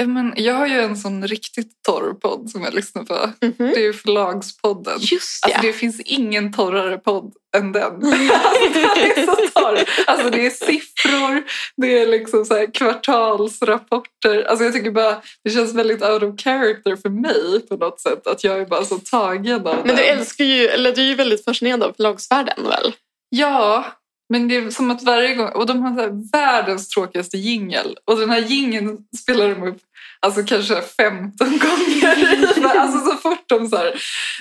[SPEAKER 2] Eh, Men jag har ju en sån riktigt torr podd som jag lyssnar på.
[SPEAKER 3] (laughs) Mhm.
[SPEAKER 2] Det är ju Förlagspodden.
[SPEAKER 3] Just
[SPEAKER 2] Alltså det finns ingen torrare podd än den.
[SPEAKER 3] (laughs)
[SPEAKER 2] Alltså, den är så torr. Alltså det är siffror, det är liksom så här kvartalsrapporter. Alltså jag tycker bara det känns väldigt out of character för mig på något sätt. Att jag är bara så tagen av
[SPEAKER 3] Men du
[SPEAKER 2] den.
[SPEAKER 3] älskar ju, eller du är ju väldigt fascinerad av förlagsvärlden väl?
[SPEAKER 2] Ja, men det är som att varje gång... Och de har så här världens tråkigaste jingel. Och den här jingeln spelar de upp alltså kanske 15
[SPEAKER 3] (laughs)
[SPEAKER 2] gånger. Men alltså så fort de så här,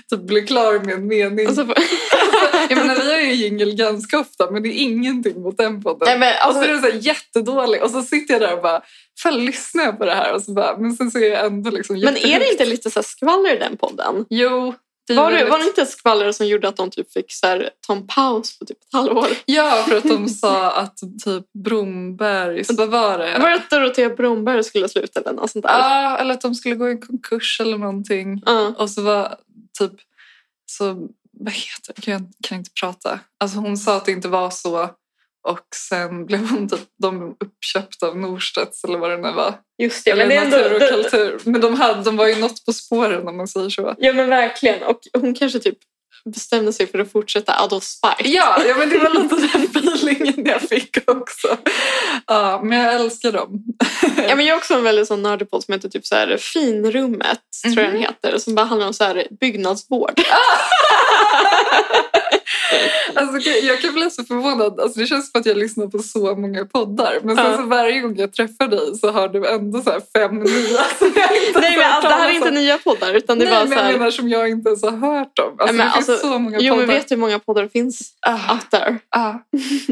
[SPEAKER 2] typ blir klar med en mening.
[SPEAKER 3] Och så-
[SPEAKER 2] (laughs) jag menar, vi har ju jingel ganska ofta, men det är ingenting mot den podden.
[SPEAKER 3] Nej, men
[SPEAKER 2] Och så är den
[SPEAKER 3] alltså,
[SPEAKER 2] så här jättedålig och så sitter jag där och bara, fan lyssnar jag på det här? Och så bara, men sen så är jag ändå liksom
[SPEAKER 3] men är det
[SPEAKER 2] jättehögt.
[SPEAKER 3] inte lite så här skvaller i den podden?
[SPEAKER 2] Jo. det är
[SPEAKER 3] Var det,
[SPEAKER 2] Mm, väldigt-
[SPEAKER 3] var det inte ett skvaller som gjorde att de typ fick så här, ta en paus på typ ett halvår?
[SPEAKER 2] Ja, för att de sa att typ Bromberg,
[SPEAKER 3] (laughs)
[SPEAKER 2] så vad var det?
[SPEAKER 3] Var det att Dorotea Bromberg skulle sluta eller något sånt där?
[SPEAKER 2] Ja, eller att de skulle gå i konkurs eller någonting.
[SPEAKER 3] Ja.
[SPEAKER 2] Och så var typ... Så, vad heter det? Jag kan inte prata. Alltså hon sa att det inte var så. Och sen blev hon typ, de uppköpta av Norstedts eller vad det nu var.
[SPEAKER 3] Just det,
[SPEAKER 2] eller
[SPEAKER 3] men det är ändå...
[SPEAKER 2] Natur och
[SPEAKER 3] det-
[SPEAKER 2] kultur. Men de, hade, de var ju något på spåren om man säger så.
[SPEAKER 3] Ja men verkligen. Och hon kanske typ bestämde sig för att fortsätta out of spite.
[SPEAKER 2] Ja, ja, men det var (laughs) lite den
[SPEAKER 3] (laughs)
[SPEAKER 2] feelingen jag fick också. Ja, men jag älskar dem.
[SPEAKER 3] Ja, men jag är också en väldigt sån nördig podd som heter typ så här Finrummet, tror jag den heter, som bara handlar om så här byggnadsvård.
[SPEAKER 2] Alltså, okej, jag kan bli så förvånad. Alltså, det känns som att jag lyssnar på så många poddar. Men sen
[SPEAKER 3] Ja.
[SPEAKER 2] så varje gång jag träffar dig så har du ändå så här fem nya som jag inte
[SPEAKER 3] (laughs) Nej,
[SPEAKER 2] har
[SPEAKER 3] men
[SPEAKER 2] hört
[SPEAKER 3] alltså, det här är
[SPEAKER 2] talas om.
[SPEAKER 3] inte nya poddar, utan det är
[SPEAKER 2] Nej,
[SPEAKER 3] bara
[SPEAKER 2] men
[SPEAKER 3] så
[SPEAKER 2] jag
[SPEAKER 3] här...
[SPEAKER 2] menar som jag inte ens har hört om. Alltså,
[SPEAKER 3] Ja, men
[SPEAKER 2] det finns
[SPEAKER 3] alltså,
[SPEAKER 2] så många
[SPEAKER 3] Jo,
[SPEAKER 2] poddar.
[SPEAKER 3] men vet du hur många poddar det finns
[SPEAKER 2] ah,
[SPEAKER 3] out there?
[SPEAKER 2] ah.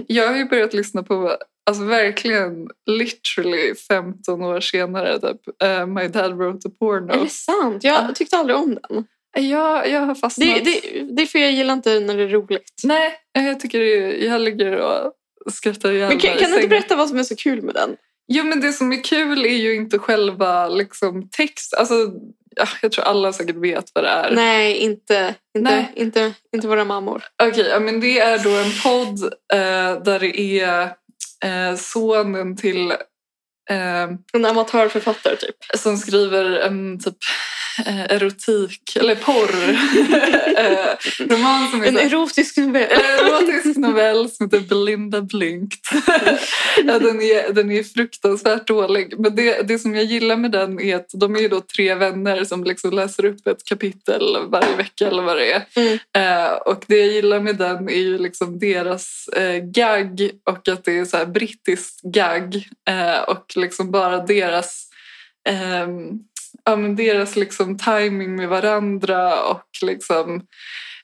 [SPEAKER 2] Jag har ju börjat lyssna på, alltså verkligen literally 15 år senare, typ, eh, My Dad Wrote a Porno.
[SPEAKER 3] Är det sant? Jag
[SPEAKER 2] Ja.
[SPEAKER 3] tyckte aldrig om den.
[SPEAKER 2] Jag, jag har fastnat.
[SPEAKER 3] Det, det, det är för jag gillar inte när det är roligt.
[SPEAKER 2] Nej, eh, jag tycker det är, jag ligger och skrattar ihjäl
[SPEAKER 3] Men
[SPEAKER 2] mig
[SPEAKER 3] kan,
[SPEAKER 2] i
[SPEAKER 3] kan du inte
[SPEAKER 2] sängen.
[SPEAKER 3] berätta vad som är så kul med den?
[SPEAKER 2] Jo, men det som är kul är ju inte själva liksom, text. Alltså, ja, jag tror alla säkert vet vad det är.
[SPEAKER 3] Nej, inte, inte,
[SPEAKER 2] Nej.
[SPEAKER 3] inte, inte våra mammor.
[SPEAKER 2] Okej, ja, men det är då en podd eh, där det är eh, sonen till eh,
[SPEAKER 3] En amatörförfattare typ.
[SPEAKER 2] som skriver en typ eh, erotik eller porr (laughs) eh, roman som är
[SPEAKER 3] En
[SPEAKER 2] så här-
[SPEAKER 3] erotisk novell.
[SPEAKER 2] en erotisk novell som heter Belinda Blinkt. (laughs) ja, den, är, den är fruktansvärt dålig. Men det, det som jag gillar med den är att de är ju då tre vänner som liksom läser upp ett kapitel varje vecka eller vad det är.
[SPEAKER 3] Mm.
[SPEAKER 2] Eh, och det jag gillar med den är ju liksom deras eh, gag och att det är så här brittiskt gag eh, och liksom bara deras ehm, ja, men deras liksom timing med varandra och liksom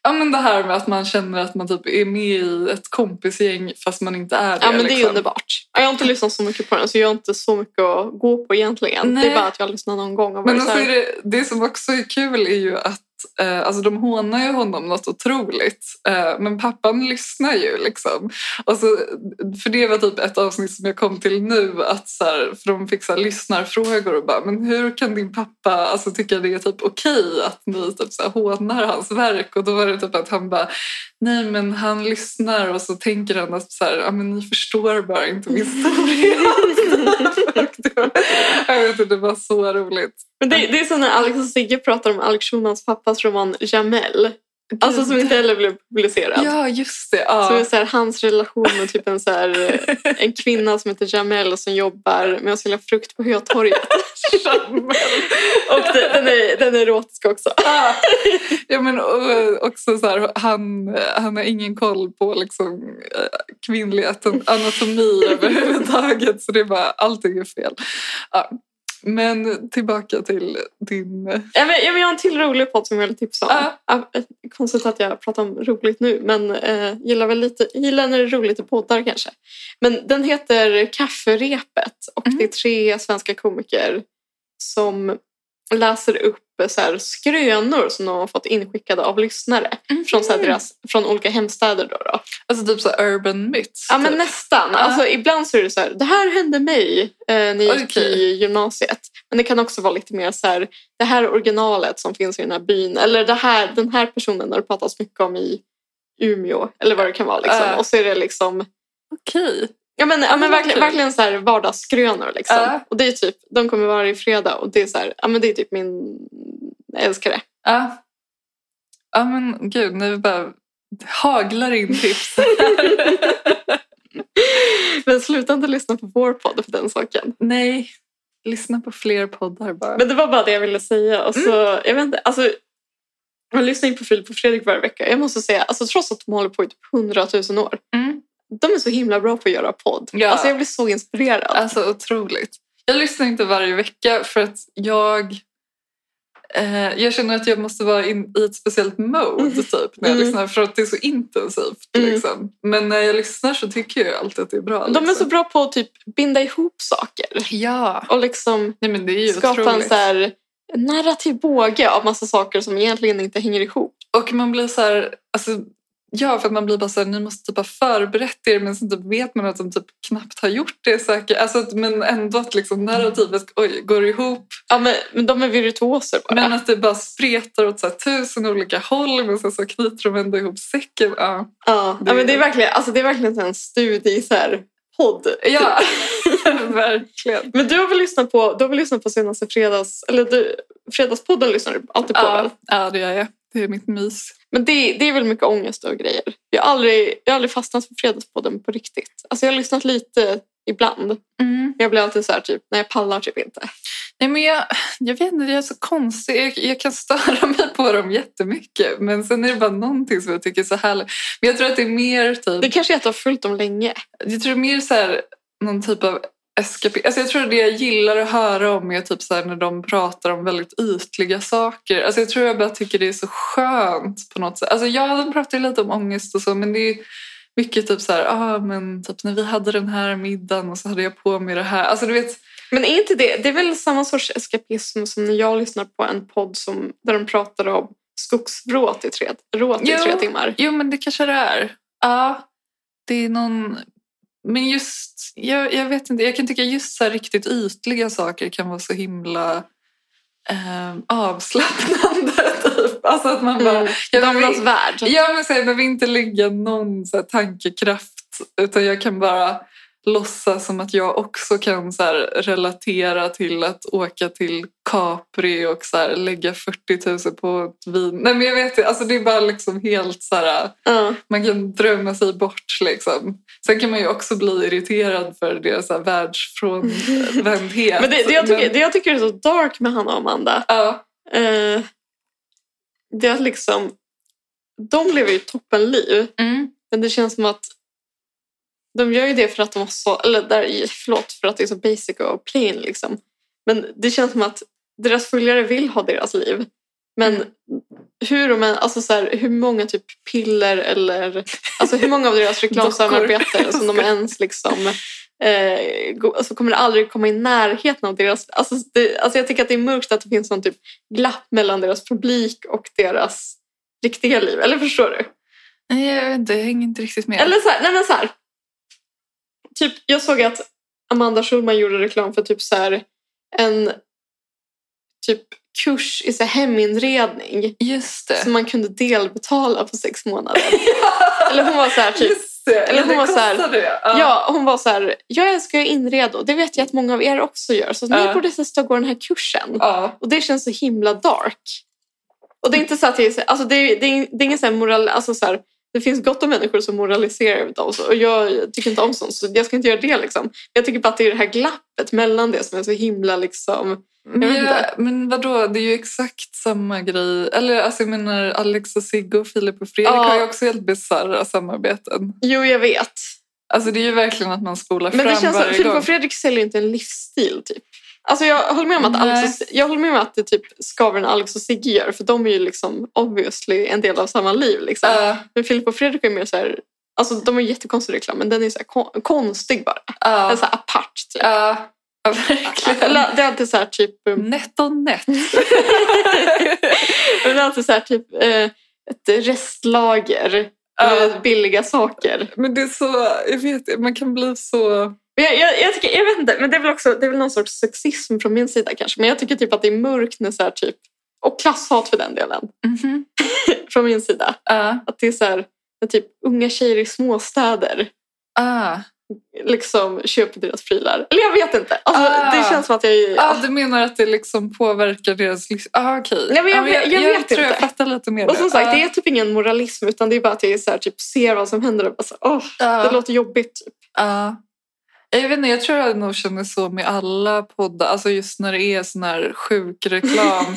[SPEAKER 2] Ja, men det här med att man känner att man typ är med i ett kompisgäng fast man inte är det.
[SPEAKER 3] Ja, men det är
[SPEAKER 2] liksom.
[SPEAKER 3] underbart. Jag har inte lyssnat så mycket på den, så jag har inte så mycket att gå på egentligen.
[SPEAKER 2] Nej.
[SPEAKER 3] Det är bara att jag lyssnar någon gång. Och
[SPEAKER 2] Men
[SPEAKER 3] men så
[SPEAKER 2] alltså är
[SPEAKER 3] här,
[SPEAKER 2] det, det som också är kul är ju att eh, alltså de hånar ju honom något otroligt. Eh, men pappan lyssnar ju liksom. Och så, för det var typ ett avsnitt som jag kom till nu, att så här, för de fick så här, lyssnarfrågor och bara, men hur kan din pappa alltså, tycka det är typ okej att ni typ, så här, hånar hans verk? Och då var det typ att han bara, nej men han lyssnar och så tänker han att så här, ja, men ni förstår bara inte min (laughs) storhet. jag vet inte, det var så roligt.
[SPEAKER 3] Men det, det är som när Alex och Sigge pratar om Alex Schulmans pappas roman Jamel. Alltså som inte heller blev publicerad.
[SPEAKER 2] Ja, just det. Ja.
[SPEAKER 3] Så det är så här, hans relation med typ en, så här, en kvinna som heter Jamel som jobbar med att sälja frukt
[SPEAKER 2] (laughs)
[SPEAKER 3] på Hötorget. Och det, den, är, den är erotisk också.
[SPEAKER 2] Ah. Ja, men och, också så här, han, han har ingen koll på liksom, eh, kvinnlig atom-
[SPEAKER 3] (laughs)
[SPEAKER 2] anatomi överhuvudtaget så det är bara, allting är fel. Ja. Men tillbaka till din...
[SPEAKER 3] Ja, men, ja, men jag har en till rolig podd som jag vill tipsa om.
[SPEAKER 2] Ja.
[SPEAKER 3] Ja, Konstigt att jag pratar om roligt nu, men eh, gillar, väl lite, gillar när det är roligt i poddar kanske. Men den heter Kafferepet och
[SPEAKER 2] Mhm.
[SPEAKER 3] det är tre svenska komiker som läser upp eh, så här, skrönor som de har fått inskickade av lyssnare
[SPEAKER 2] Mhm.
[SPEAKER 3] från, så här, deras, från olika hemstäder. Då, då.
[SPEAKER 2] Alltså typ så här urban myths.
[SPEAKER 3] Ja, men
[SPEAKER 2] typ.
[SPEAKER 3] nästan.
[SPEAKER 2] Ja.
[SPEAKER 3] Alltså, ibland så är det så här, det här hände mig eh, när jag gick
[SPEAKER 2] Okej.
[SPEAKER 3] i gymnasiet. Men det kan också vara lite mer så här, det här originalet som finns i den här byn. Eller det här, den här personen har det pratats mycket om i Umeå. Eller vad det kan vara. Liksom.
[SPEAKER 2] Ja.
[SPEAKER 3] Och så är det liksom,
[SPEAKER 2] Okej.
[SPEAKER 3] ja men, ja, men verkligen,
[SPEAKER 2] Kul.
[SPEAKER 3] verkligen så här vardagsskrönor. Liksom.
[SPEAKER 2] Ja.
[SPEAKER 3] Och det är typ, de kommer varje fredag och det är så här, ja men det är typ min
[SPEAKER 2] (laughs)
[SPEAKER 3] älskare.
[SPEAKER 2] Ja. ja, men gud, nu bara haglar in
[SPEAKER 3] (laughs)
[SPEAKER 2] tips.
[SPEAKER 3] Men sluta inte lyssna på vår podd för den saken.
[SPEAKER 2] Nej, lyssna på fler poddar bara.
[SPEAKER 3] Men det var bara det jag ville säga. Och så,
[SPEAKER 2] Mm.
[SPEAKER 3] jag vet inte, alltså, jag lyssnar ju på Filip och Fredrik varje vecka. Jag måste säga, alltså, trots att de håller på i typ hundratusen år.
[SPEAKER 2] Mm.
[SPEAKER 3] De är så himla bra på att göra podd.
[SPEAKER 2] Ja.
[SPEAKER 3] Alltså, jag blir så inspirerad.
[SPEAKER 2] Alltså otroligt. Jag lyssnar inte varje vecka för att jag... Eh, jag känner att jag måste vara in, i ett speciellt mode typ, när jag
[SPEAKER 3] Mm.
[SPEAKER 2] lyssnar för att det är så intensivt.
[SPEAKER 3] Mm.
[SPEAKER 2] Liksom. Men när jag lyssnar så tycker jag alltid att det är bra.
[SPEAKER 3] de är så
[SPEAKER 2] liksom.
[SPEAKER 3] bra på att typ binda ihop saker.
[SPEAKER 2] Ja.
[SPEAKER 3] Och liksom
[SPEAKER 2] Nej, men det är ju
[SPEAKER 3] skapa en
[SPEAKER 2] otroligt.
[SPEAKER 3] så här narrativ båge av massa saker som egentligen inte hänger ihop.
[SPEAKER 2] Och man blir så här... Alltså, Ja, för att man blir bara så här, ni måste typ ha förberett er men sen typ vet man att de typ knappt har gjort det säkert. Alltså, att- men ändå att liksom narrativet oj, går ihop
[SPEAKER 3] Ja, men, men de är virtuoser bara.
[SPEAKER 2] Men att det bara spretar åt så här, tusen olika håll men sen så knyter de ändå ihop säcken. Ja, (laughs)
[SPEAKER 3] ja.
[SPEAKER 2] det-
[SPEAKER 3] ja, men det är verkligen, alltså, det är verkligen så här en studie i så här podd. typ.
[SPEAKER 2] ja. (laughs) verkligen.
[SPEAKER 3] Men du har väl lyssnat på, du har väl lyssnat på senaste fredags... Eller du, fredagspodden lyssnar du alltid på väl?
[SPEAKER 2] Ja, ja, det gör jag. Det är mitt mys.
[SPEAKER 3] Men det, det är väl mycket ångest och grejer. Jag har aldrig, jag har aldrig fastnat för fredagspodden på riktigt. Alltså jag har lyssnat lite ibland. Men jag blir alltid så här typ, nej jag pallar typ inte.
[SPEAKER 2] Nej, men jag, jag vet inte, jag är så konstig. Jag, jag kan störa mig på dem jättemycket men sen är det bara någonting som jag tycker är så härligt. Men jag tror att det är mer typ...
[SPEAKER 3] Det kanske är att jag har följt dem länge.
[SPEAKER 2] Jag tror mer så här, någon typ av eskapism. Alltså jag tror det jag gillar att höra om är typ så här när de pratar om väldigt ytliga saker. Alltså jag tror jag bara tycker det är så skönt på något sätt. Alltså ja, de pratar ju lite om ångest och så, men det är mycket typ så här, ah, men typ när vi hade den här middagen och så hade jag på mig det här. Alltså du vet,
[SPEAKER 3] Men är inte det, det är väl samma sorts eskapism som när jag lyssnar på en podd som, där de pratar om skogsvråt i tre, råt i
[SPEAKER 2] Jo.
[SPEAKER 3] tre timmar.
[SPEAKER 2] Jo, men det kanske det är. Ja, det är någon... Men just, jag, jag vet inte, jag kan tycka just så här riktigt ytliga saker kan vara så himla eh, avslappnande. (laughs) Typ. Alltså att man bara...
[SPEAKER 3] Mm.
[SPEAKER 2] Jag
[SPEAKER 3] Damernas
[SPEAKER 2] behöver,
[SPEAKER 3] värld.
[SPEAKER 2] ja, men så här, jag behöver inte lägga någon så här, tankekraft utan jag kan bara låtsas som att jag också kan så här, relatera till att åka till Capri och så här, lägga 40 000 på ett vin. Nej men jag vet inte, alltså, det är bara liksom helt så här,
[SPEAKER 3] Ja.
[SPEAKER 2] man kan drömma sig bort liksom. Sen kan man ju också bli irriterad för deras så här, världsfrånvändhet.
[SPEAKER 3] (laughs) Men det, det, jag tycker,
[SPEAKER 2] Men-
[SPEAKER 3] det jag tycker är så dark med Hanna och Amanda
[SPEAKER 2] ja,
[SPEAKER 3] eh, det är att liksom de lever ju toppenliv men det känns som att de gör ju det för att de har så, eller där, förlåt, för att det är så basic och plain liksom. Men det känns som att deras följare vill ha deras liv. Men hur de än, alltså så här, hur många typ piller eller alltså hur många av deras reklamsamarbeten som de ens liksom eh, go- alltså kommer det aldrig komma i närheten av deras... Alltså, det, alltså jag tycker att det är mörkt att det finns någon typ glapp mellan deras publik och deras riktiga liv. Eller förstår du?
[SPEAKER 2] Nej, jag vet inte, jag hänger inte riktigt med.
[SPEAKER 3] Eller så här, nej men så här. Typ, jag såg att Amanda Schulman gjorde reklam för typ så här, en typ kurs i så här heminredning
[SPEAKER 2] Just det.
[SPEAKER 3] som man kunde delbetala på
[SPEAKER 2] (laughs)
[SPEAKER 3] sex månader. Eller hon var så här typ,
[SPEAKER 2] Just det.
[SPEAKER 3] Eller hon
[SPEAKER 2] det
[SPEAKER 3] var så här,
[SPEAKER 2] kostade det.
[SPEAKER 3] ja hon var så här, jag älskar att inreda och det vet jag att många av er också gör så ni
[SPEAKER 2] Ja.
[SPEAKER 3] borde testa att gå den här kursen.
[SPEAKER 2] Ja.
[SPEAKER 3] Och det känns så himla dark. Och det är inte så att jag, är så- alltså det, är, det, är, det är ingen så här moral, alltså så här, det finns gott om människor som moraliserar över dem och så, och jag tycker inte om sånt så jag ska inte göra det liksom. Men Jag tycker bara att det är det här glappet mellan det som är så himla liksom,
[SPEAKER 2] Men,
[SPEAKER 3] vet inte.
[SPEAKER 2] jag, men vadå, det är ju exakt samma grej. Eller alltså jag menar Alex och Sigge och Filip och Fredrik
[SPEAKER 3] Ja.
[SPEAKER 2] har ju också helt bisarra samarbeten.
[SPEAKER 3] jo jag vet.
[SPEAKER 2] Alltså det är ju verkligen att man spolar
[SPEAKER 3] Men
[SPEAKER 2] fram
[SPEAKER 3] det känns som
[SPEAKER 2] varje
[SPEAKER 3] att Filip
[SPEAKER 2] gång.
[SPEAKER 3] och Fredrik säljer inte en livsstil typ. Alltså jag håller med om att,
[SPEAKER 2] Nej.
[SPEAKER 3] Alex och, jag håller med om att det typ skaver när Alex och Sigge gör för de är ju liksom obviously en del av samma liv liksom.
[SPEAKER 2] Ja,
[SPEAKER 3] Men Filip och Fredrik är mer så här, alltså de har jättekonstig reklam men den är så här kon- konstig bara.
[SPEAKER 2] ja,
[SPEAKER 3] Eller så här apart typ.
[SPEAKER 2] ja, ja, verkligen.
[SPEAKER 3] Eller det är alltid så här typ, um,
[SPEAKER 2] Nätt och nätt.
[SPEAKER 3] det är alltid så här, typ eh, ett restlager
[SPEAKER 2] Ja,
[SPEAKER 3] med billiga saker.
[SPEAKER 2] men det är så, jag vet man kan bli så...
[SPEAKER 3] Men Jag, jag, jag, tycker, jag vet inte, men det är väl också det är väl någon sorts sexism från min sida kanske. Men jag tycker typ att det är mörkt när så här typ, och klasshat för den delen,
[SPEAKER 2] Mhm.
[SPEAKER 3] från min sida.
[SPEAKER 2] Ja,
[SPEAKER 3] Att det är så här, när typ unga tjejer i småstäder
[SPEAKER 2] ja.
[SPEAKER 3] liksom köper deras prylar. Eller jag vet inte. Alltså,
[SPEAKER 2] Ah.
[SPEAKER 3] Det känns som att jag är...
[SPEAKER 2] Ja, du menar att det liksom påverkar deras livs... Ah, okej.
[SPEAKER 3] Nej, men jag
[SPEAKER 2] Ja,
[SPEAKER 3] vet- jag vet
[SPEAKER 2] tror jag
[SPEAKER 3] inte.
[SPEAKER 2] fattar lite mer
[SPEAKER 3] Och
[SPEAKER 2] nu.
[SPEAKER 3] som sagt,
[SPEAKER 2] Ja.
[SPEAKER 3] det är typ ingen moralism utan det är bara att jag är så här, typ, ser vad som händer och bara så, här, åh,
[SPEAKER 2] Ja.
[SPEAKER 3] det låter jobbigt. Typ.
[SPEAKER 2] Ja. Jag vet inte, jag tror jag nog känner så med alla poddar, alltså just när det är sån här sjuk
[SPEAKER 3] (laughs)
[SPEAKER 2] reklam.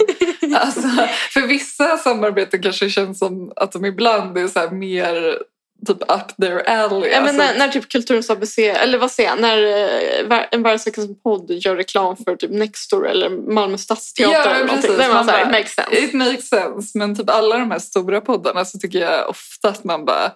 [SPEAKER 2] alltså, för vissa samarbeten kanske känns som att de ibland är så här mer typ up their alley.
[SPEAKER 3] Ja, men
[SPEAKER 2] alltså,
[SPEAKER 3] när, när typ Kulturens ABC, eller vad säger jag, när eh, var- en Vardagsveckans podd gör reklam för typ Nextdoor eller Malmö Stadsteater
[SPEAKER 2] Ja, men
[SPEAKER 3] eller någonting.
[SPEAKER 2] precis.
[SPEAKER 3] Där man
[SPEAKER 2] Man
[SPEAKER 3] så här,
[SPEAKER 2] bara-
[SPEAKER 3] makes sense.
[SPEAKER 2] It makes sense, men typ alla de här stora poddarna så tycker jag ofta att man bara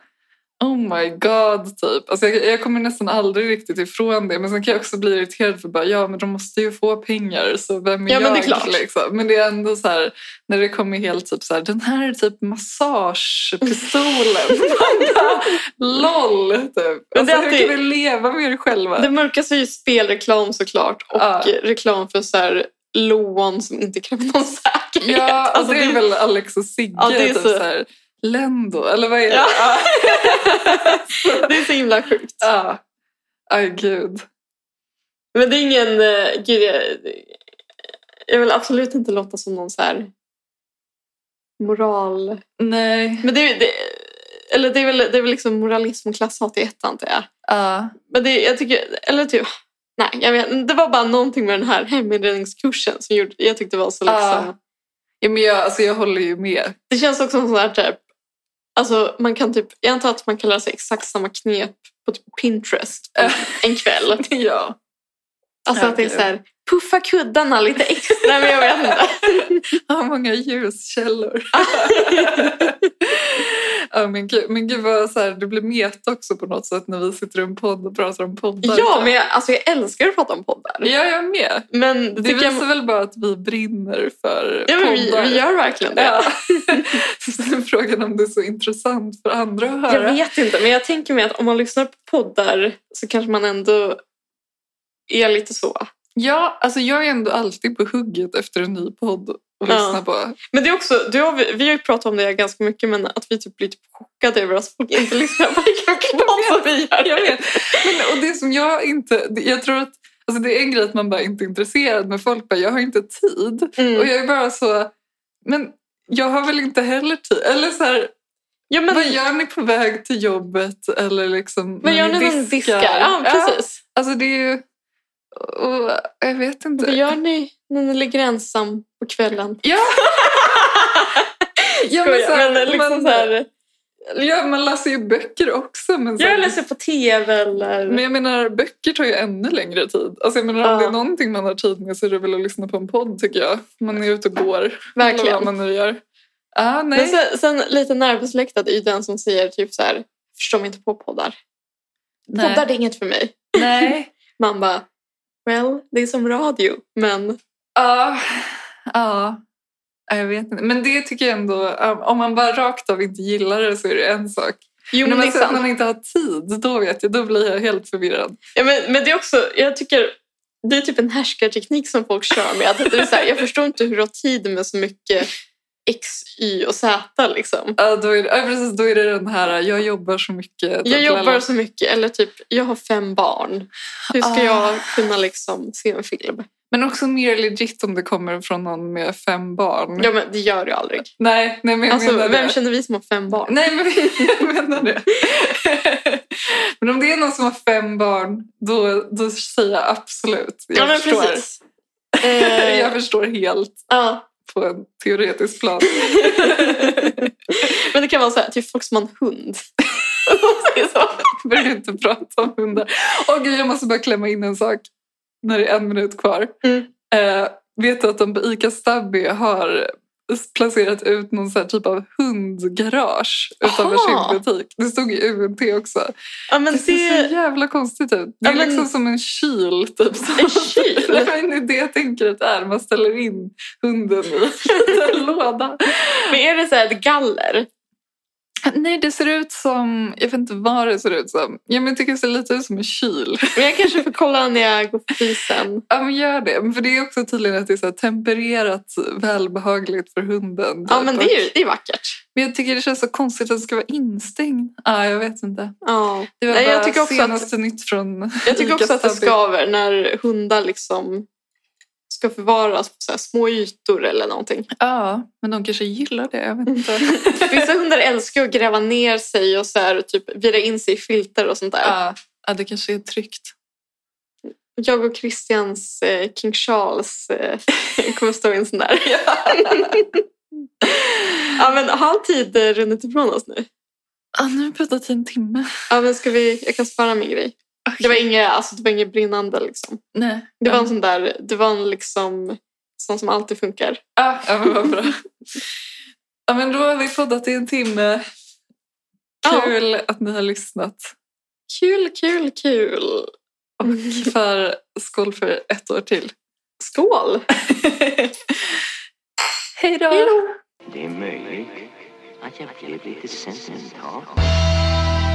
[SPEAKER 2] Oh my god, typ. Alltså jag, jag kommer nästan aldrig riktigt ifrån det. Men sen kan jag också bli irriterad för bara, ja men de måste ju få pengar så vem är
[SPEAKER 3] Ja,
[SPEAKER 2] jag?
[SPEAKER 3] men det är klart.
[SPEAKER 2] Liksom? Men det är ändå så här, när det kommer helt typ så här, den här typ massagepistolen.
[SPEAKER 3] (laughs)
[SPEAKER 2] Man bara, LOL! Typ.
[SPEAKER 3] Men
[SPEAKER 2] Alltså,
[SPEAKER 3] det är
[SPEAKER 2] hur
[SPEAKER 3] alltid-
[SPEAKER 2] kan vi leva med er själva?
[SPEAKER 3] Det mörkaste är ju spelreklam såklart och
[SPEAKER 2] Ja.
[SPEAKER 3] reklam för så här, lån som inte kräver någon säkerhet.
[SPEAKER 2] Ja, alltså det är väl Alex och Sigge.
[SPEAKER 3] Ja, det är
[SPEAKER 2] typ
[SPEAKER 3] så-
[SPEAKER 2] så... här, Lendo, eller vad är det?
[SPEAKER 3] Ja.
[SPEAKER 2] Ja.
[SPEAKER 3] (laughs) det är så himla sjukt.
[SPEAKER 2] Ja. Ah. Aj, gud.
[SPEAKER 3] Men det är ingen... eh, Gud, jag, jag vill absolut inte låta som någon så här moral...
[SPEAKER 2] Nej.
[SPEAKER 3] Men det, är- det, eller det är väl, det är väl liksom moralism och klasshat i ett antar jag.
[SPEAKER 2] Ja.
[SPEAKER 3] Men det, jag tycker... Eller typ... Nej, jag vet, det var bara någonting med den här heminredningskursen som gjorde, jag tyckte var så liksom...
[SPEAKER 2] Ja. ja men jag, alltså, jag håller ju med. (laughs)
[SPEAKER 3] Det känns också som sån här typ... Alltså man kan typ... Jag antar att man kan lära sig exakt samma knep på typ Pinterest på en kväll.
[SPEAKER 2] ja.
[SPEAKER 3] Alltså att det är så här... Puffa kuddarna lite extra, men jag vet inte.
[SPEAKER 2] Har många ljuskällor. (laughs) ja, men, gud, men gud vad så här, det blir meta också på något sätt när vi sitter i en podd och pratar om poddar.
[SPEAKER 3] (laughs) Ja, men jag, alltså jag älskar att prata om poddar.
[SPEAKER 2] Ja, jag är med.
[SPEAKER 3] Men det
[SPEAKER 2] Det
[SPEAKER 3] tycker
[SPEAKER 2] visar
[SPEAKER 3] jag...
[SPEAKER 2] väl bara att vi brinner för
[SPEAKER 3] Ja, men vi,
[SPEAKER 2] poddar. (laughs)
[SPEAKER 3] vi gör verkligen det.
[SPEAKER 2] Ja. Sen är frågan om det är så intressant för andra att höra.
[SPEAKER 3] Jag vet inte, men jag tänker mig att om man lyssnar på poddar så kanske man ändå är lite så.
[SPEAKER 2] Ja, alltså jag är ändå alltid på hugget efter en ny podd att lyssna på.
[SPEAKER 3] Men det är också, du har, vi har ju pratat om det ganska mycket, men att vi typ blir typ chockade över att folk inte lyssnar
[SPEAKER 2] (laughs)
[SPEAKER 3] på lika mycket podd som vi gör.
[SPEAKER 2] Jag vet. Men, och det som jag inte... det- Jag tror att alltså det är en grej att man bara inte är intresserad, men folk bara “jag har inte tid”. Och
[SPEAKER 3] Mm.
[SPEAKER 2] jag är bara så... Men jag har väl inte heller tid? Eller så här,
[SPEAKER 3] Ja, men,
[SPEAKER 2] vad gör ni på väg till jobbet? Eller liksom...
[SPEAKER 3] vad gör ni när ni diskar? Ja, precis.
[SPEAKER 2] alltså det är ju... Och, jag vet inte.
[SPEAKER 3] Vad gör ni när ni ligger ensam på kvällen? (laughs)
[SPEAKER 2] Ja, men så här,
[SPEAKER 3] Skojar, men liksom
[SPEAKER 2] man,
[SPEAKER 3] så här,
[SPEAKER 2] ja, man läser ju böcker också. Men så här-
[SPEAKER 3] jag läser på tv eller...
[SPEAKER 2] Men jag menar, böcker tar ju ännu längre tid. Alltså jag menar, om
[SPEAKER 3] Ja.
[SPEAKER 2] det är någonting man har tid med så är det väl att lyssna på en podd tycker jag. Man är ute och går. Eller
[SPEAKER 3] verkligen.
[SPEAKER 2] vad man nu gör. Ah,
[SPEAKER 3] Men
[SPEAKER 2] nej.
[SPEAKER 3] sen, sen lite närbesläktad är ju den som säger typ så här, förstår mig inte på poddar.
[SPEAKER 2] nej.
[SPEAKER 3] Poddar det är inget för mig. (laughs)
[SPEAKER 2] nej.
[SPEAKER 3] Man bara, well, det är som radio, men
[SPEAKER 2] Ja, ja. Ja, Jag vet inte. Men det tycker jag ändå, ah, om man bara rakt av inte gillar det så är det en sak.
[SPEAKER 3] jo,
[SPEAKER 2] men
[SPEAKER 3] men liksom-
[SPEAKER 2] alltså,
[SPEAKER 3] det är
[SPEAKER 2] att
[SPEAKER 3] sant.
[SPEAKER 2] man inte har tid, då vet jag, då blir jag helt förvirrad.
[SPEAKER 3] Ja, men, men det är också, jag tycker, det är typ en härskarteknik som folk kör med. Att det är så här, jag förstår inte hur du har tid med så mycket X, Y och Z liksom.
[SPEAKER 2] Ja, Ah, då är, det- ja, precis, då är det den här, ah, jag jobbar så mycket. typ,
[SPEAKER 3] Jag jobbar
[SPEAKER 2] Blablabla.
[SPEAKER 3] så mycket, eller typ, jag har fem barn. Hur ska
[SPEAKER 2] Ah.
[SPEAKER 3] jag kunna liksom se en film?
[SPEAKER 2] Men också mer legit om det kommer från någon med fem barn.
[SPEAKER 3] Ja, men det gör jag aldrig.
[SPEAKER 2] Nej, nej, men Mm. jag
[SPEAKER 3] Alltså,
[SPEAKER 2] menar
[SPEAKER 3] vem
[SPEAKER 2] det.
[SPEAKER 3] känner vi som har fem barn?
[SPEAKER 2] Nej, men jag menar
[SPEAKER 3] (laughs)
[SPEAKER 2] det. men om det är någon som har fem barn, då, då säger jag absolut. Jag,
[SPEAKER 3] ja, men
[SPEAKER 2] förstår.
[SPEAKER 3] precis. Eh,
[SPEAKER 2] (laughs) jag förstår helt
[SPEAKER 3] ja.
[SPEAKER 2] på en teoretisk plan.
[SPEAKER 3] (laughs) men det kan vara så här, typ folk som har en hund. Om man säger så.
[SPEAKER 2] Jag börjar inte prata om hundar. Åh gud, jag måste bara klämma in en sak när det är en minut kvar.
[SPEAKER 3] Mm.
[SPEAKER 2] Eh, vet du att de på ICA Stabby har placerat ut någon så här typ av hundgarage utanför
[SPEAKER 3] Aha.
[SPEAKER 2] sin butik. Det stod i UNT också.
[SPEAKER 3] Ja, men
[SPEAKER 2] det ser så
[SPEAKER 3] det...
[SPEAKER 2] jävla konstigt ut. Det är
[SPEAKER 3] Ja, men-
[SPEAKER 2] liksom som en kyl. Typ.
[SPEAKER 3] En kyl?
[SPEAKER 2] Nej, men (laughs) det är det jag tänker att det är. Man ställer in hunden i (laughs) en låda.
[SPEAKER 3] (laughs) Men är det så här ett galler?
[SPEAKER 2] Nej, det ser ut som... Jag vet inte vad det ser ut som. Ja, men jag tycker det ser lite ut som en kyl.
[SPEAKER 3] Men jag kanske får kolla när jag går förbi sen.
[SPEAKER 2] Ja, men gör det. Men För det är också tydligen att det är så här tempererat välbehagligt för hunden.
[SPEAKER 3] Ja,
[SPEAKER 2] typ.
[SPEAKER 3] men det är ju det är vackert.
[SPEAKER 2] Men jag tycker det känns så konstigt att den ska vara instängd. Ja, jag vet inte.
[SPEAKER 3] Ja.
[SPEAKER 2] Det var
[SPEAKER 3] Nej,
[SPEAKER 2] bara
[SPEAKER 3] jag tycker också att-
[SPEAKER 2] senaste nytt från
[SPEAKER 3] Jag tycker
[SPEAKER 2] Ica
[SPEAKER 3] också att det
[SPEAKER 2] Stubby.
[SPEAKER 3] skaver när hundar liksom ska förvaras på så här små ytor eller någonting.
[SPEAKER 2] Ja, men de kanske gillar det. Jag vet inte.
[SPEAKER 3] Vissa hundar älskar ju att gräva ner sig och så här, typ vira in sig i filter och sånt där.
[SPEAKER 2] ja, ja, det kanske är tryggt.
[SPEAKER 3] Jag och Christians eh, King Charles eh, kommer stå i en sån där. (laughs) ja, men har all tid eh, runnit ifrån oss nu?
[SPEAKER 2] Ah, nu har vi pratat i en timme.
[SPEAKER 3] Ja, men ska vi, jag kan spara min grej. Det var inget, alltså, det var inget brinnande liksom.
[SPEAKER 2] Nej.
[SPEAKER 3] Det var en sån där, det var en liksom, sån som alltid funkar.
[SPEAKER 2] ah, ja, men vad bra. ja, men då har vi poddat i en timme.
[SPEAKER 3] Ja.
[SPEAKER 2] Kul att ni har lyssnat.
[SPEAKER 3] Kul, kul, kul.
[SPEAKER 2] Och för skål för ett år till.
[SPEAKER 3] Skål!
[SPEAKER 2] (laughs) Hej då!
[SPEAKER 3] Hej då!
[SPEAKER 1] Det är möjligt att jag blev lite sentimental.